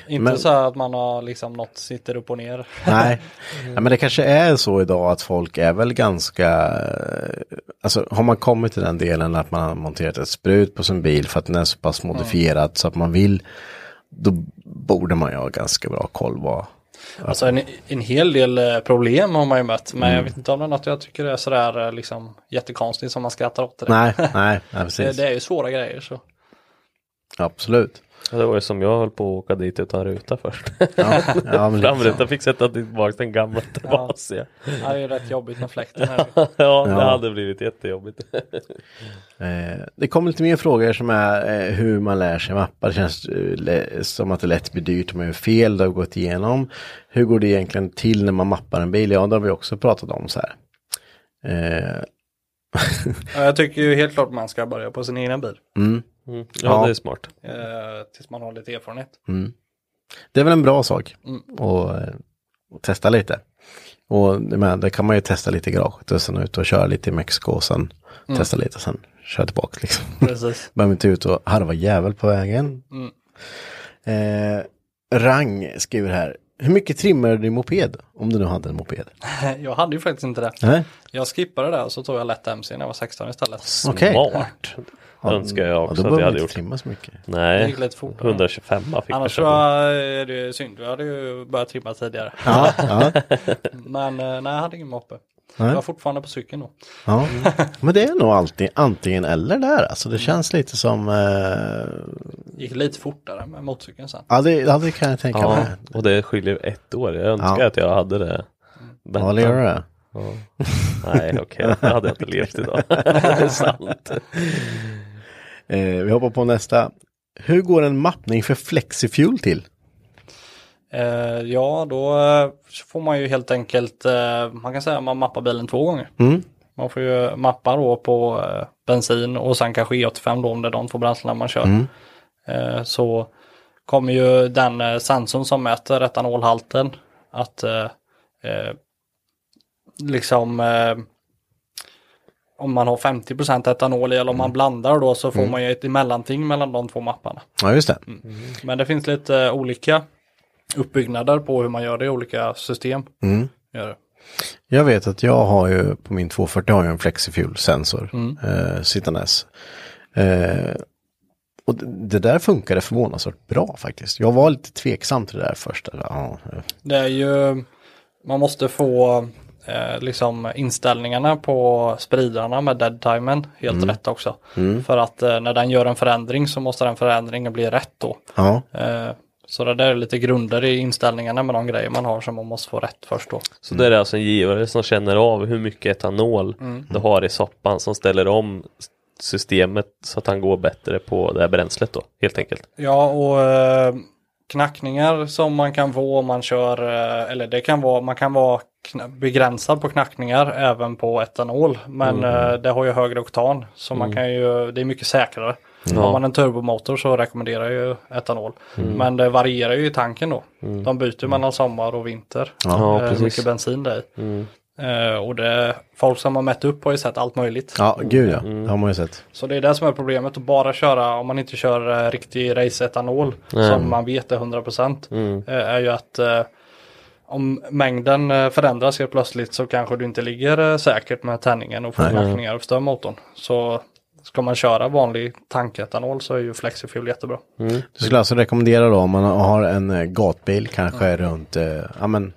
Speaker 3: Inte
Speaker 1: Men-
Speaker 3: så här att man har liksom något sitter upp och ner.
Speaker 1: Nej. Ja, men det kanske är så idag att folk är väl ganska, eh, alltså har man kommit till den delen att man har monterat ett sprut på sin bil för att den är så pass modifierad så att man vill, då borde man ju ha ganska bra koll vad,
Speaker 3: Alltså en, en hel del eh, problem har man ju mött, men jag vet inte om det är något jag tycker är sådär eh, liksom jättekonstigt som man skrattar åt direkt.
Speaker 1: nej, nej, nej
Speaker 3: det,
Speaker 1: precis,
Speaker 3: det är ju svåra grejer så.
Speaker 1: absolut.
Speaker 2: Ja, det var ju som jag höll på att åka dit utan ruta först.
Speaker 1: Ja, ja, men liksom. lite så.
Speaker 2: Framrutan fick sätta tillbaka den gamla trasiga.
Speaker 3: Ja, Det är ju rätt jobbigt med fläkten här.
Speaker 2: Ja. det
Speaker 1: Ja.
Speaker 2: hade blivit jättejobbigt.
Speaker 1: Eh, det kommer lite mer frågor som är eh, hur man lär sig mappa. Det känns eh, lä- som att det lätt blir dyrt om man gör fel, det har vi gått igenom. Hur går det egentligen till när man mappar en bil? Ja, det har vi också pratat om så här. Eh,
Speaker 3: Ja, Jag tycker ju helt klart man ska börja på sin egna bil.
Speaker 2: Mm. Ja,
Speaker 1: Ja.
Speaker 2: det är smart.
Speaker 3: Eh, tills man har lite erfarenhet.
Speaker 1: Det är väl en bra sak att eh, att testa lite. Och men, det kan man ju testa lite i garaget och sen ut och köra lite i Mexiko och sen testa lite och sen köra tillbaka liksom.
Speaker 3: Precis.
Speaker 1: Behöver inte ut och harva jävel på vägen.
Speaker 2: Mm.
Speaker 1: Eh, Rang skriver här. Hur mycket trimmade du din moped? Om du nu hade en moped.
Speaker 3: Jag hade ju faktiskt inte det.
Speaker 1: Nej,
Speaker 3: Jag skippade det och så tog jag lätt MC när jag var 16 istället.
Speaker 1: okej.
Speaker 2: Smart. Önskar jag
Speaker 1: Ja,
Speaker 2: också
Speaker 1: då
Speaker 2: att
Speaker 1: behöver
Speaker 2: jag
Speaker 1: man
Speaker 2: hade
Speaker 1: inte
Speaker 2: gjort.
Speaker 1: trimma så mycket.
Speaker 3: Det
Speaker 2: Nej,
Speaker 3: gick lite fortare.
Speaker 2: 125 fick jag
Speaker 3: Annars så
Speaker 2: köpa.
Speaker 3: är det ju synd, jag hade ju börjat trimma tidigare.
Speaker 1: Ja, ja,
Speaker 3: Men eh, nej, jag hade ingen moppe.
Speaker 1: Nej.
Speaker 3: Jag var fortfarande på cykeln då.
Speaker 1: ja. Men det är nog alltid antingen eller där. Alltså det känns lite som... Eh,
Speaker 3: Gick lite fortare med motorcykeln sen.
Speaker 1: ja, det, ja, det kan jag tänka
Speaker 2: Ja,
Speaker 1: mig.
Speaker 2: och det skiljer ett år. Jag önskar
Speaker 1: Ja.
Speaker 2: att jag hade det.
Speaker 1: Ja, det gör det.
Speaker 2: Nej, okej, det hade jag inte levt idag. det är sant.
Speaker 1: Eh, vi hoppar på nästa. Hur går en mappning för flexifuel till?
Speaker 3: Eh, ja, då eh, får man ju helt enkelt, eh, man kan säga att man mappar bilen två gånger. Man får ju mappa då på eh, bensin och sen kanske E85 då om det är de två bränslena man kör. Eh, så kommer ju den eh, sensorn som mäter etanolhalten att eh, eh, liksom eh, om man har 50 etanol i eller om man blandar då så får man ju ett mellanting mellan de två mapparna.
Speaker 1: Ja, just det.
Speaker 3: Men det finns lite eh, olika uppbyggnader på hur man gör det i olika system. Gör det.
Speaker 1: Jag vet att jag har ju på min 240 har jag en flexifuel-sensor
Speaker 3: Mm.
Speaker 1: eh, sittandes. Eh, och det, det där funkade förvånansvärt bra faktiskt. Jag var lite tveksam till det där först. Ja, eh,
Speaker 3: det är ju, man måste få eh, liksom inställningarna på spridarna med dead timen helt rätt också. För att eh, när den gör en förändring så måste den förändringen bli rätt då.
Speaker 1: ja.
Speaker 3: Eh, så det där är lite grunder i inställningarna med de grejer man har som man måste få rätt först då.
Speaker 2: Så det är alltså en givare som känner av hur mycket etanol du har i soppan som ställer om s- systemet så att han går bättre på det här bränslet då, helt enkelt.
Speaker 3: Ja, och eh, knackningar som man kan få om man kör, eh, eller det kan vara, man kan vara kna- begränsad på knackningar även på etanol. Men
Speaker 2: Mm.
Speaker 3: eh, det har ju högre oktan så man kan ju, det är mycket säkrare. Har man en turbomotor så rekommenderar jag ju etanol.
Speaker 2: Mm.
Speaker 3: Men det varierar ju i tanken då. De byter mellan sommar och vinter.
Speaker 2: Ja,
Speaker 3: eh, hur
Speaker 2: precis. Mm.
Speaker 3: mycket bensin det är. i. Eh, och det, folk som har mätt upp har ju sett allt möjligt.
Speaker 1: Ja, gud ja. Det har man ju sett.
Speaker 3: Så det är det som är problemet, att bara köra, om man inte kör eh, riktig race-etanol som man vet är 100%
Speaker 1: Mm.
Speaker 3: eh, är ju att eh, om mängden eh, förändras helt plötsligt så kanske du inte ligger eh, säkert med tändningen och får knackningar och förstör motorn. Så ska man köra vanlig tanketanol så är ju flexifuel jättebra.
Speaker 1: Du skulle alltså rekommendera då om man har en eh, gatbil kanske
Speaker 3: Mm.
Speaker 1: runt, eh, ja men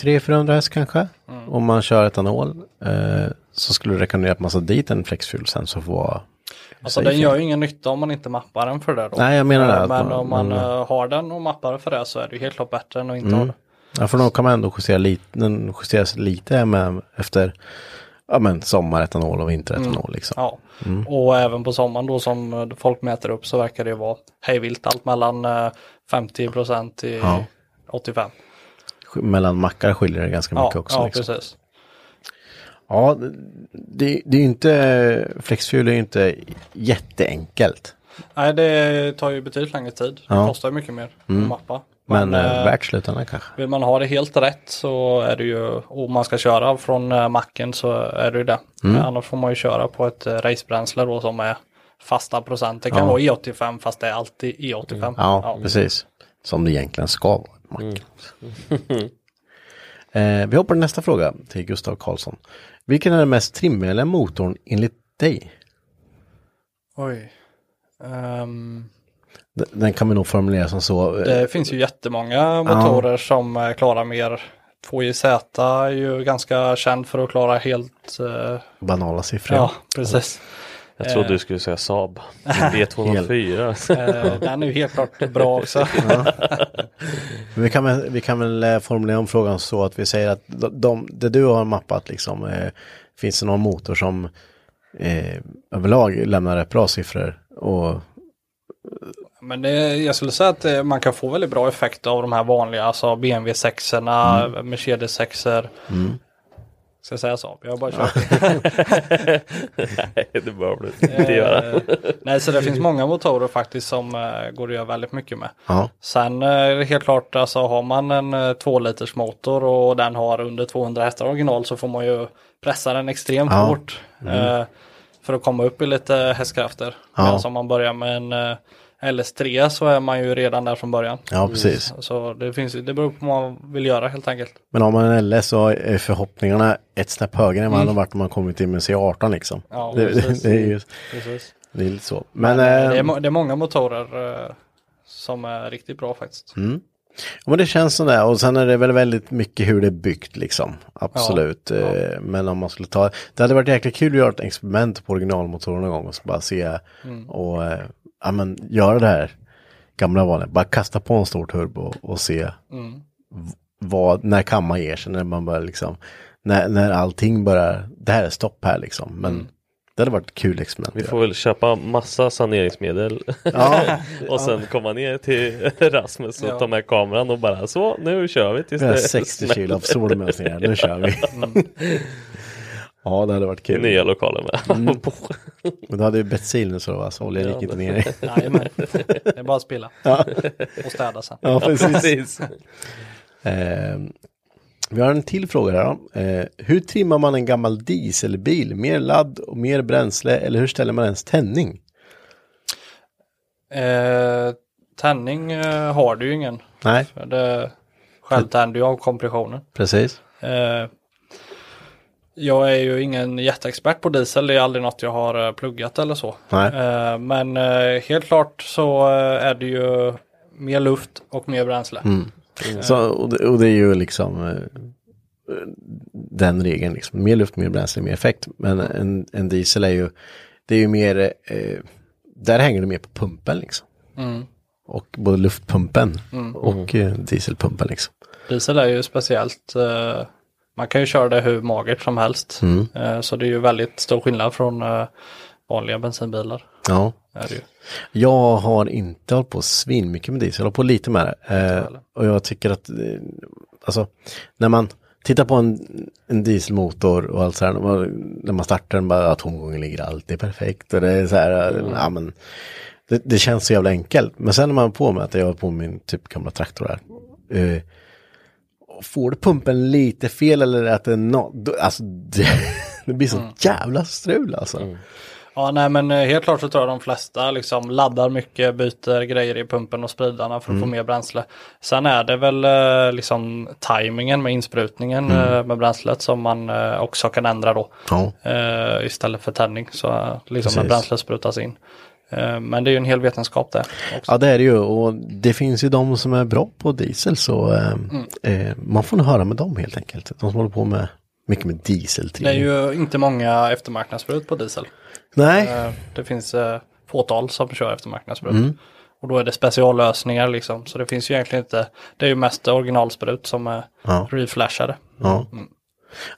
Speaker 1: 300-400 häst kanske.
Speaker 3: Mm.
Speaker 1: Om man kör etanol eh, så skulle du rekommendera att man sätter dit en flexfuel sen så får vara
Speaker 3: Alltså
Speaker 1: safe.
Speaker 3: den gör ju ingen nytta om man inte mappar den för det då.
Speaker 1: Nej, jag menar det,
Speaker 3: Eh,
Speaker 1: att man-
Speaker 3: Men
Speaker 1: mm.
Speaker 3: om man,
Speaker 1: man-
Speaker 3: eh, har den och mappar för det så är det ju helt klart bättre än att inte
Speaker 1: Mm.
Speaker 3: ha det.
Speaker 1: Ja, för då kan man ändå justera lite, den justeras lite med, efter ja, men sommaretanol och vinteretanol liksom.
Speaker 3: Ja, och även på sommaren då som eh, folk mäter upp så verkar det vara hejvilt allt mellan eh, 50 till
Speaker 1: Ja.
Speaker 3: 85.
Speaker 1: Sk- Mellan mackar skiljer det ganska mycket
Speaker 3: Ja,
Speaker 1: också.
Speaker 3: ja
Speaker 1: liksom.
Speaker 3: precis.
Speaker 1: Ja, det, det är ju inte, flexfuel är ju inte jätteenkelt.
Speaker 3: Nej, det tar ju betydligt längre tid.
Speaker 1: Ja. Mm.
Speaker 3: Det kostar ju mycket mer att mappa.
Speaker 1: Men, eh,
Speaker 3: eh,
Speaker 1: värt slutändan kanske.
Speaker 3: vill man ha det helt rätt så är det ju, och man ska köra från eh, macken så är det ju det.
Speaker 1: Mm.
Speaker 3: Eh, Annars får man ju köra på ett eh, racebränsle då som är fasta procent. Det kan vara E85 fast det är alltid E E85.
Speaker 1: Ja, precis. Som det egentligen ska vara. Mac.
Speaker 3: Mm.
Speaker 1: eh, vi hoppar till nästa fråga till Gustav Karlsson. Vilken är den mest trimmiga motorn enligt dig?
Speaker 3: Oj. Ehm,
Speaker 1: D- Den kan vi nog formulera som så. eh,
Speaker 3: Det finns ju jättemånga motorer som eh, klarar mer. 2JZ är ju ganska känd för att klara helt... eh,
Speaker 1: banala siffror.
Speaker 3: ja, precis.
Speaker 2: Jag trodde du skulle säga Saab. B204.
Speaker 3: Eh, Den är ju helt klart bra också.
Speaker 1: Men Vi, kan väl, vi kan väl eh, formulera om frågan så att vi säger att de, de, det du har mappat liksom, eh, finns det någon motor som eh, överlag lämnar rätt bra siffror? Och,
Speaker 3: Men det, jag skulle säga att eh, man kan få väldigt bra effekt av de här vanliga, alltså BMW 6 Mercedes 6 Ska jag säga Saab? Jag har bara kört.
Speaker 2: Nej, det bör du inte göra.
Speaker 3: Eh, Nej, så det finns många motorer faktiskt som eh, går att göra väldigt mycket med.
Speaker 1: ja,
Speaker 3: Sen eh, är det helt klart, alltså har man en eh, 2 liters motor och den har under 200 hästar original så får man ju pressa den extremt
Speaker 1: Ja. Mm.
Speaker 3: hårt eh, för att komma upp i lite hästkrafter.
Speaker 1: Ja.
Speaker 3: Men om man börjar med en eh, LS3 så är man ju redan där från början.
Speaker 1: ja, precis.
Speaker 3: Så det, finns, det beror på vad man vill göra helt enkelt.
Speaker 1: Men har man en LS så är förhoppningarna ett snäpp högre än vad de varit om man kommit till med C18 liksom.
Speaker 3: Mm. Ja,
Speaker 1: det, det,
Speaker 3: precis.
Speaker 1: det, är ju,
Speaker 3: Precis.
Speaker 1: det är lite så. Men,
Speaker 3: Det, är,
Speaker 1: eh,
Speaker 3: må- det är många motorer eh, som är riktigt bra faktiskt.
Speaker 1: Mm. Ja, men det känns som det. Och sen är det väl väldigt mycket hur det är byggt liksom. Absolut. Eh, Men om man skulle ta, det hade varit jäkligt kul att göra ett experiment på originalmotorn någon gång och så bara se och eh, ja, men, göra det här gamla vanliga. Bara kasta på en stor turbo och se v- vad, när kamma ger sig, när man börjar liksom, när, när allting börjar, det här är stopp här liksom. Men
Speaker 3: Mm.
Speaker 1: det hade varit ett kul experiment.
Speaker 2: Vi
Speaker 1: att
Speaker 2: får väl köpa massa saneringsmedel
Speaker 1: göra. ja,
Speaker 2: och sen komma ner till Rasmus och ta med kameran och bara så, nu kör vi tills
Speaker 1: vi har
Speaker 2: det
Speaker 1: 60 kilo av solmönstringar, nu kör vi. ja, det hade varit
Speaker 2: i
Speaker 1: kul.
Speaker 2: nya lokalen med.
Speaker 1: Men du hade ju bensin så det var så oljan gick inte ner i.
Speaker 3: Jajamän. det är bara att spilla och städa sen.
Speaker 1: Ja, precis.
Speaker 2: Precis.
Speaker 1: eh, vi har en till fråga här då. Eh, hur trimmar man en gammal dieselbil? Mer ladd och mer bränsle eller hur ställer man ens tändning?
Speaker 3: Eh, tändning eh, har du ju ingen.
Speaker 1: Nej,
Speaker 3: För det självtänder ju av kompressionen.
Speaker 1: precis.
Speaker 3: Eh, jag är ju ingen jätteexpert på diesel. Det är aldrig något jag har eh, pluggat eller så.
Speaker 1: Nej.
Speaker 3: Eh, men eh, helt klart så eh, är det ju mer luft och mer bränsle.
Speaker 1: Så, och, det, och det är ju liksom eh, den regeln, liksom. mer luft, mer bränsle, mer effekt. Men en, en diesel är ju, det är ju mer, eh, där hänger det mer på pumpen liksom. Och både luftpumpen och eh, dieselpumpen liksom.
Speaker 3: Diesel är ju speciellt. Eh, man kan ju köra det hur magert som helst. Eh, så det är ju väldigt stor skillnad från eh, vanliga bensinbilar.
Speaker 1: Ja.
Speaker 3: Är det ju.
Speaker 1: Jag har inte hållit på svin mycket med diesel, jag har hållit på lite med det. Eh, och jag tycker att, eh, alltså, när man tittar på en, en dieselmotor och allt så här, när man, när man startar den bara, ja, tomgången ligger alltid perfekt och det är så här, eh, ja men, det, det känns så jävla enkelt. Men sen när man är på med att jag har på min typ gamla traktor här, eh, och får du pumpen lite fel eller att det är nå- då- alltså det, det blir så jävla strul alltså.
Speaker 3: Ja, nej men eh, helt klart så tror jag de flesta liksom laddar mycket, byter grejer i pumpen och spridarna för att få mer bränsle. Sen är det väl eh, liksom tajmingen med insprutningen eh, med bränslet som man eh, också kan ändra då.
Speaker 1: Ja.
Speaker 3: Eh, Istället för tändning så eh, liksom när
Speaker 1: Precis.
Speaker 3: bränslet sprutas in. Eh, Men det är ju en hel vetenskap det. Också.
Speaker 1: Ja det är det ju och det finns ju de som är bra på diesel så eh, eh, man får nog höra med dem helt enkelt. De som håller på med mycket med
Speaker 3: Det är
Speaker 1: dieseltrimning.
Speaker 3: ju inte många eftermarknadsbrut på diesel.
Speaker 1: Nej,
Speaker 3: Eh, Det finns eh, fåtal som kör eftermarknadsbrut.
Speaker 1: Mm.
Speaker 3: Och då är det speciallösningar liksom. Så det finns ju egentligen inte. Det är ju mest originalsprut som eh, är
Speaker 1: Ja.
Speaker 3: reflashade.
Speaker 1: ja.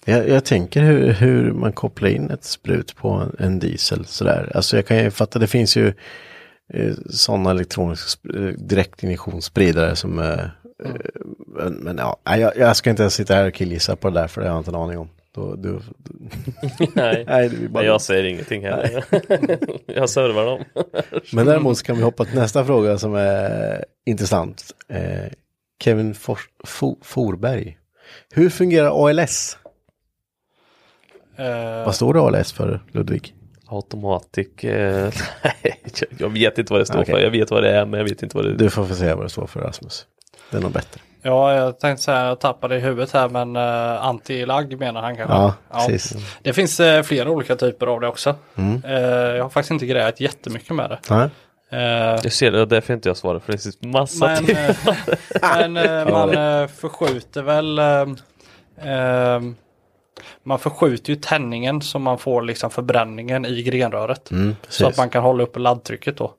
Speaker 1: Jag, jag tänker hur, hur man kopplar in ett sprut på en, en diesel sådär. Alltså jag kan ju fatta, det finns ju eh, sådana elektroniska sp- eh, direktinjektionsspridare som eh, eh, men, men ja, nej, jag, jag ska inte ens sitta här och killgissa på det där för det har jag inte en aning om. Då, då,
Speaker 2: Nej.
Speaker 1: nej, det blir bara
Speaker 2: Nej, jag säger ingenting heller. jag servar dem.
Speaker 1: Men däremot så kan vi hoppa till nästa fråga som är intressant. Eh, Kevin Fors- Fo- Forberg. Hur fungerar ALS?
Speaker 3: Eh,
Speaker 1: Vad står det ALS för Ludvig?
Speaker 2: Automatic. Eh, nej, jag vet inte vad det står
Speaker 1: Okej.
Speaker 2: för. Jag vet vad det är men jag vet inte vad det är.
Speaker 1: Du får få säga vad det står för Rasmus. Det är nog bättre.
Speaker 3: Ja, jag tänkte säga jag tappade i huvudet här men eh, anti-lagg menar han kanske.
Speaker 1: Ja, precis. Mm.
Speaker 3: Det finns eh, flera olika typer av det också. Eh, jag har faktiskt inte grejat jättemycket med det.
Speaker 1: Nej.
Speaker 3: Eh,
Speaker 2: Jag ser det, det är därför inte jag svarar för det finns massa
Speaker 3: men
Speaker 2: till.
Speaker 3: eh, men eh, man eh, förskjuter väl eh, eh, man förskjuter ju tändningen så man får liksom förbränningen i grenröret. så att
Speaker 1: Mm, precis. Mm.
Speaker 3: man kan hålla upp laddtrycket då.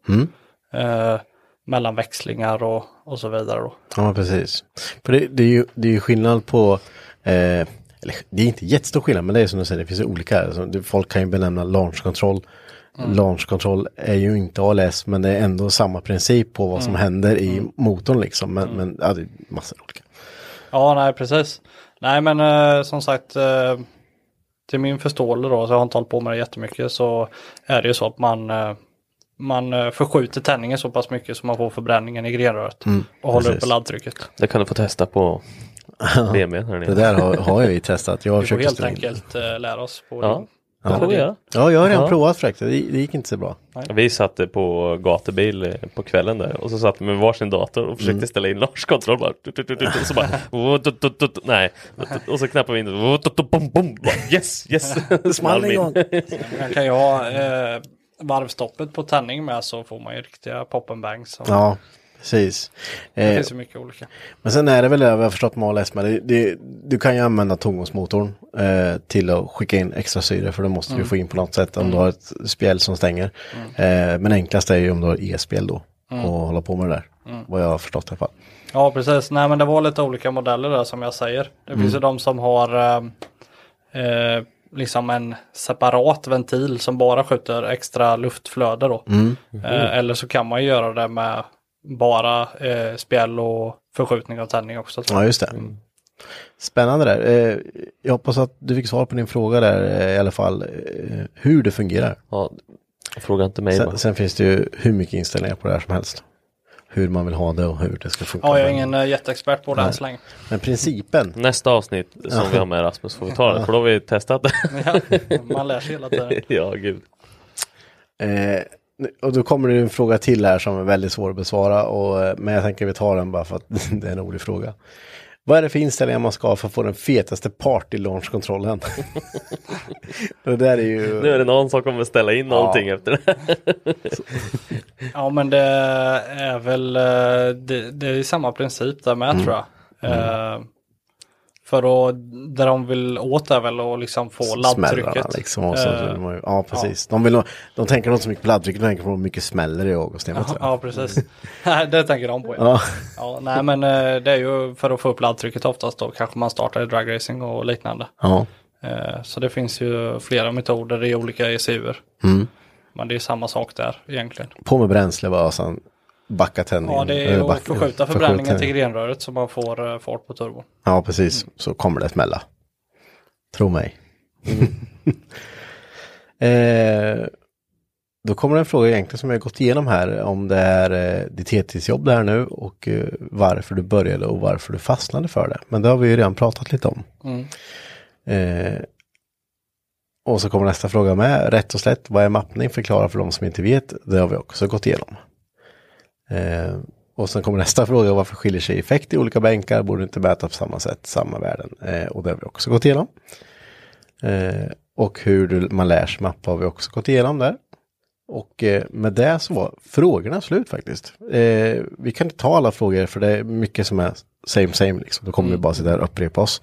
Speaker 3: Eh, mellan växlingar och, och så vidare då.
Speaker 1: Ja, precis. För det, det, är ju, det är ju skillnad på, eh, eller det är inte jättestor skillnad, men det är som du säger, det finns ju olika. Alltså, det, folk kan ju benämna launch control.
Speaker 3: Mm.
Speaker 1: Launch control är ju inte ALS, men det är ändå samma princip på vad som
Speaker 3: Mm.
Speaker 1: händer i motorn liksom. Men, men ja, det är massor olika.
Speaker 3: Ja, nej precis. Nej men eh, som sagt eh, till min förståelse då, så jag har inte hållit på med det jättemycket, så är det ju så att man, eh, man eh, förskjuter tändningen så pass mycket så man får förbränningen i grenröret och håller
Speaker 1: Mm, precis.
Speaker 3: uppe laddtrycket.
Speaker 2: Det kan du få testa på BMWn här
Speaker 1: Det
Speaker 2: nere.
Speaker 1: där har, har jag ju testat. Jag har
Speaker 3: Vi får
Speaker 1: försökt
Speaker 3: helt
Speaker 1: ställa in.
Speaker 3: enkelt eh, lära oss på
Speaker 2: Ja,
Speaker 1: Ja.
Speaker 2: det får vi göra.
Speaker 1: Ja, jag har redan
Speaker 2: Ja.
Speaker 1: provat faktiskt. Det, det gick inte så bra.
Speaker 2: Vi satt på gatubil eh, på kvällen där och så satt vi med varsin dator och försökte ställa in Lars kontroll bara. tut, tut, tut, tut, Och så bara "Wo, tut, tut, tut", nej. Och så knappade vi in Wo, tut, tut, bom, bom. Bara, Yes, yes. Small in.
Speaker 3: Man kan ju ha eh, varvstoppet på tändning med så får man ju riktiga pop and bangs. och
Speaker 1: Ja, precis.
Speaker 3: Det
Speaker 1: Eh,
Speaker 3: finns ju mycket olika.
Speaker 1: Men sen är det väl det jag har förstått med ALS med. Det, det, du kan ju använda tomgångsmotorn eh, till att skicka in extra syre för det måste
Speaker 3: Mm.
Speaker 1: du få in på något sätt om du har ett spjäll som stänger. Eh, men enklast är ju om du har e-spjäll då
Speaker 3: Mm.
Speaker 1: och hålla på med det där. Vad jag har förstått i alla fall.
Speaker 3: Ja precis, nej men det var lite olika modeller där som jag säger. Det
Speaker 1: Mm.
Speaker 3: finns ju de som har eh, eh, liksom en separat ventil som bara skjuter extra luftflöde då.
Speaker 1: Mm.
Speaker 3: Eh, eller så kan man ju göra det med bara eh, spjäll och förskjutning av tändning också. tror jag.
Speaker 1: Ja, just det.
Speaker 3: Mm.
Speaker 1: Spännande där. Eh, jag hoppas att du fick svar på din fråga där eh, i alla fall. Eh, hur det fungerar.
Speaker 2: Ja, fråga inte mig bara.
Speaker 1: Sen, sen finns det ju hur mycket inställningar på det här som helst. Hur man vill ha det och hur det ska funka.
Speaker 3: Ja, jag är
Speaker 1: Men-
Speaker 3: ingen eh, jätteexpert på det än så länge.
Speaker 1: Men principen.
Speaker 2: Nästa avsnitt som vi har med Rasmus får vi ta det för då har vi testat det.
Speaker 3: Ja, man lär sig hela tiden.
Speaker 2: ja, gud.
Speaker 1: Eh, nu- och då kommer det en fråga till här som är väldigt svår att besvara. Och, eh, men jag tänker vi tar den bara för att det är en rolig fråga. Vad är det för inställningar man ska ha för att få den fetaste party-launch-kontrollen? det där är
Speaker 2: Nu
Speaker 1: ju...
Speaker 2: är det någon som kommer ställa in någonting efter det.
Speaker 3: Ja men det är väl eh, det, det är samma princip där med tror jag. Eh, För att, där de vill åt är väl att liksom få
Speaker 1: smällarna
Speaker 3: laddtrycket.
Speaker 1: liksom. Och så,
Speaker 3: Eh,
Speaker 1: vill man ju- ja, precis. De, vill, nog- de tänker nog inte så mycket på laddtryck, de tänker på hur mycket smäller det i Augustin. vet du.
Speaker 3: Ja precis, Nej, det tänker de på. Mm. Ja.
Speaker 1: Ja.
Speaker 3: Ja, nej men eh, det är ju för att få upp laddtrycket oftast då kanske man startar i dragracing och liknande.
Speaker 1: ja.
Speaker 3: Eh, Så det finns ju flera metoder i olika ECUer. E Men det är samma sak där egentligen.
Speaker 1: På med bränsle bara och sen backa tändningen.
Speaker 3: Ja, det
Speaker 1: Eller
Speaker 3: är att
Speaker 1: backa-
Speaker 3: förskjuta förbränningen till
Speaker 1: tändningen.
Speaker 3: grenröret så man får eh, fart på turbon.
Speaker 1: Ja, precis. Så kommer det smälla. Tro mig. eh, då kommer det en fråga egentligen som jag har gått igenom här om det är eh, ditt heltidsjobb det här nu och eh, varför du började och varför du fastnade för det. Men det har vi ju redan pratat lite om.
Speaker 3: Mm.
Speaker 1: Eh, och så kommer nästa fråga med. Rätt och slätt, vad är mappning? Förklara för de som inte vet. Det har vi också gått igenom. Eh, och sen kommer nästa fråga. Varför skiljer sig effekt i olika bänkar? Borde inte mäta på samma sätt, samma värden? Eh, och det har vi också gått igenom. Eh, och hur du, man lär sig mappa har vi också gått igenom där. Och eh, med det så var frågorna slut faktiskt. Eh, vi kan inte ta alla frågor för det är mycket som är same same liksom. Då kommer
Speaker 3: Mm.
Speaker 1: vi bara sitta här och upprepa oss.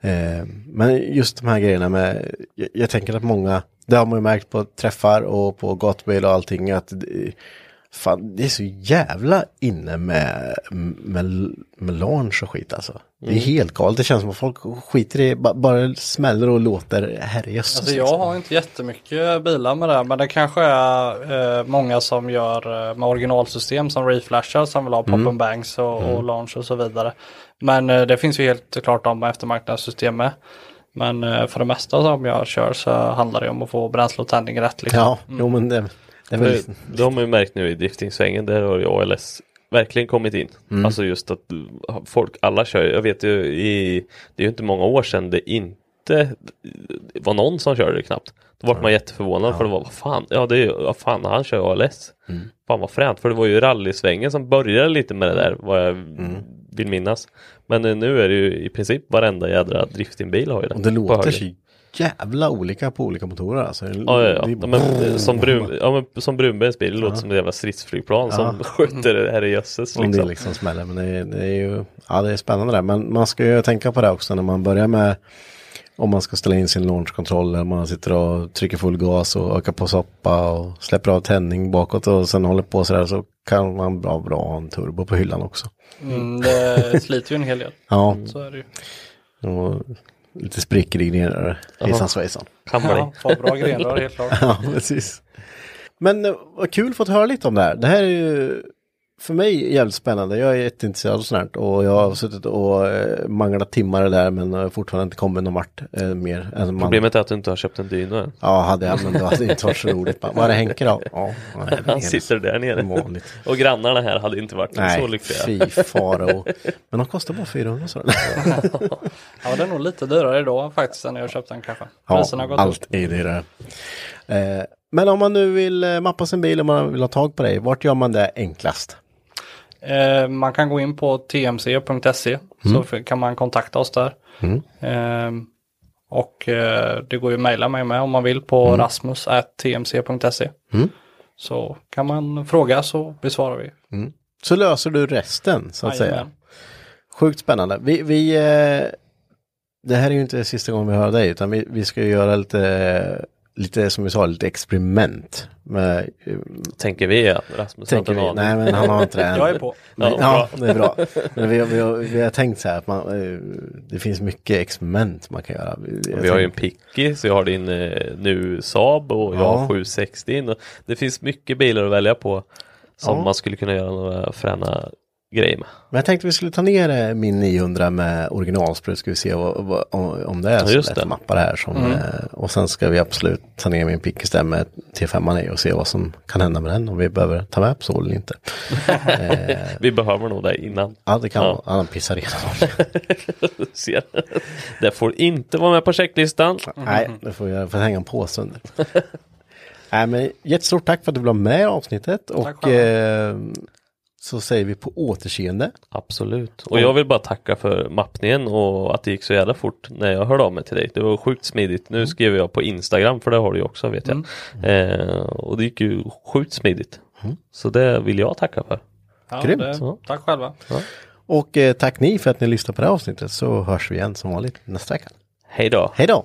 Speaker 1: Eh, men just de här grejerna med, jag, jag tänker att många, det har man ju märkt på träffar och på gatubil och allting att det, fan, det är så jävla inne med, med, med launch och skit alltså. Det är
Speaker 3: Mm.
Speaker 1: helt galet, det känns som att folk skiter i, ba- bara smäller och låter herrejösses.
Speaker 3: Alltså jag har inte jättemycket bilar med det här, men det kanske är eh, många som gör eh, med originalsystem som reflashar som vill ha pop and bangs och, och launch och så vidare. Men eh, det finns ju helt klart de med eftermarknadssystem med. Men eh, för det mesta som jag kör så handlar det om att få bränsle och tändning rätt. Liksom.
Speaker 1: Ja, jo men det, det är väl
Speaker 2: Det, det har man ju märkt nu i driftingsvängen, där har ju ALS verkligen kommit in.
Speaker 1: Mm.
Speaker 2: Alltså just att du- folk, alla kör, jag vet ju i, det är ju inte många år sedan det inte var någon som körde det knappt. Då var man jätteförvånad för det var, vad fan, ja det är ju, vad fan han kör ALS.
Speaker 1: Mm.
Speaker 2: Fan vad fränt, för det var ju rallysvängen som började lite med det där, vad jag
Speaker 1: Mm.
Speaker 2: vill minnas. Men eh, nu är det ju i princip varenda jädra driftingbil har ju det.
Speaker 1: Och det
Speaker 2: på
Speaker 1: låter
Speaker 2: höger.
Speaker 1: så jävla olika på olika motorer alltså.
Speaker 2: Ja, ja, ja.
Speaker 1: Det är
Speaker 2: Men,
Speaker 1: bara-
Speaker 2: eh, som, brun, ja, men, som Brunbergs bil låter som ett jävla stridsflygplan som skjuter det här i jösses.
Speaker 1: Om det
Speaker 2: Liksom.
Speaker 1: liksom smäller. Men det är, det är ju, ja det är spännande där. Men man ska ju tänka på det också när man börjar med om man ska ställa in sin launchkontroll eller man sitter och trycker full gas och ökar på soppa och släpper av tändning bakåt och sen håller på sådär så kan man bra, bra ha en turbo på hyllan också.
Speaker 3: Mm, det sliter ju en hel del.
Speaker 1: Ja,
Speaker 3: Så är det ju.
Speaker 2: Mm.
Speaker 1: och lite sprickor i grenar. Hejsan svejsan.
Speaker 2: Hamnar
Speaker 3: Ja,
Speaker 2: i.
Speaker 3: få bra grenrör helt klart.
Speaker 1: Ja, precis. Men eh, vad kul fått höra lite om det här. Det här är ju för mig jävligt spännande. Jag är jätteintresserad av sånt här och jag har suttit och eh, manglat timmar där men har fortfarande inte kommit någon vart eh, mer än man...
Speaker 2: Problemet är att du inte har köpt en dyno än.
Speaker 1: Ja, hade jag men det hade inte varit så roligt. Bara, Vad är det Henke då? Ja, han är
Speaker 2: Han
Speaker 1: nere.
Speaker 2: sitter där nere.
Speaker 1: Vanligt.
Speaker 2: Och grannarna här hade inte varit så
Speaker 1: Nej,
Speaker 2: lyckliga.
Speaker 1: fy farao. Men de kostar bara 400 så.
Speaker 3: Ja, det är nog lite dyrare idag faktiskt än när jag köpte den kanske.
Speaker 1: Ja,
Speaker 3: Priserna har gått upp.
Speaker 1: allt är dyrare. Eh, men om man nu vill eh, mappa sin bil och man vill ha tag på dig, vart gör man det enklast?
Speaker 3: Eh, man kan gå in på tmc.se
Speaker 1: Mm.
Speaker 3: så f- kan man kontakta oss där. Eh, och eh, det går ju att mejla mig med om man vill på
Speaker 1: Mm.
Speaker 3: rasmus.tmc.se.
Speaker 2: Mm.
Speaker 3: Så kan man fråga så besvarar vi.
Speaker 1: Så löser du resten så att säga.
Speaker 3: Jajamän.
Speaker 1: Sjukt spännande. Vi, vi, eh, det här är ju inte sista gången vi hör dig utan vi, vi ska ju göra lite, lite som vi sa, lite experiment. Med, eh,
Speaker 2: Tänker vi att Rasmus har inte
Speaker 1: tänker vi,
Speaker 2: en aning.
Speaker 1: nej men han har inte det än.
Speaker 3: Jag är på.
Speaker 1: Men,
Speaker 2: Ja,
Speaker 1: ja, det är bra. Men vi, har- vi, har- vi har tänkt så här att man, eh, det finns mycket experiment man kan göra.
Speaker 2: Vi har ju en Picky, så jag har din eh, nu Saab och jag
Speaker 1: Ja.
Speaker 2: har 760 in. Och Det finns mycket bilar att välja på som
Speaker 1: Ja.
Speaker 2: man skulle kunna göra några fräna grejer med.
Speaker 1: Men jag tänkte vi skulle ta ner eh, min 900 med originalsprut, ska vi se vad, vad, om, om det är så
Speaker 2: just
Speaker 1: lätt
Speaker 2: det. Mm.
Speaker 1: att mappa det här. Som, eh, Och sen ska vi absolut ta ner min pickis där med T5 i och se vad som kan hända med den, om vi behöver ta med Absol eller inte.
Speaker 2: Vi behöver nog det innan.
Speaker 1: Ja, det kan
Speaker 2: Ja.
Speaker 1: ja. han pissar redan.
Speaker 2: Ser. Det får inte vara med på checklistan.
Speaker 1: Nej,
Speaker 2: Mm.
Speaker 1: det får jag får hänga en påse under. Nej, men jättestort tack för att du var med i avsnittet och eh, så säger vi på återseende.
Speaker 2: Absolut. Och jag vill bara tacka för mappningen och att det gick så jävla fort när jag hörde av mig till dig. Det var sjukt smidigt. Nu skrev jag på Instagram för det har du ju också vet jag. Eh, och det gick ju sjukt smidigt. Så det vill jag tacka för.
Speaker 3: Ja,
Speaker 1: Grymt.
Speaker 3: Det, tack själva.
Speaker 1: Och eh, tack ni för att ni lyssnar på det här avsnittet så hörs vi igen som vanligt nästa vecka.
Speaker 2: Hej då!
Speaker 1: Hej då!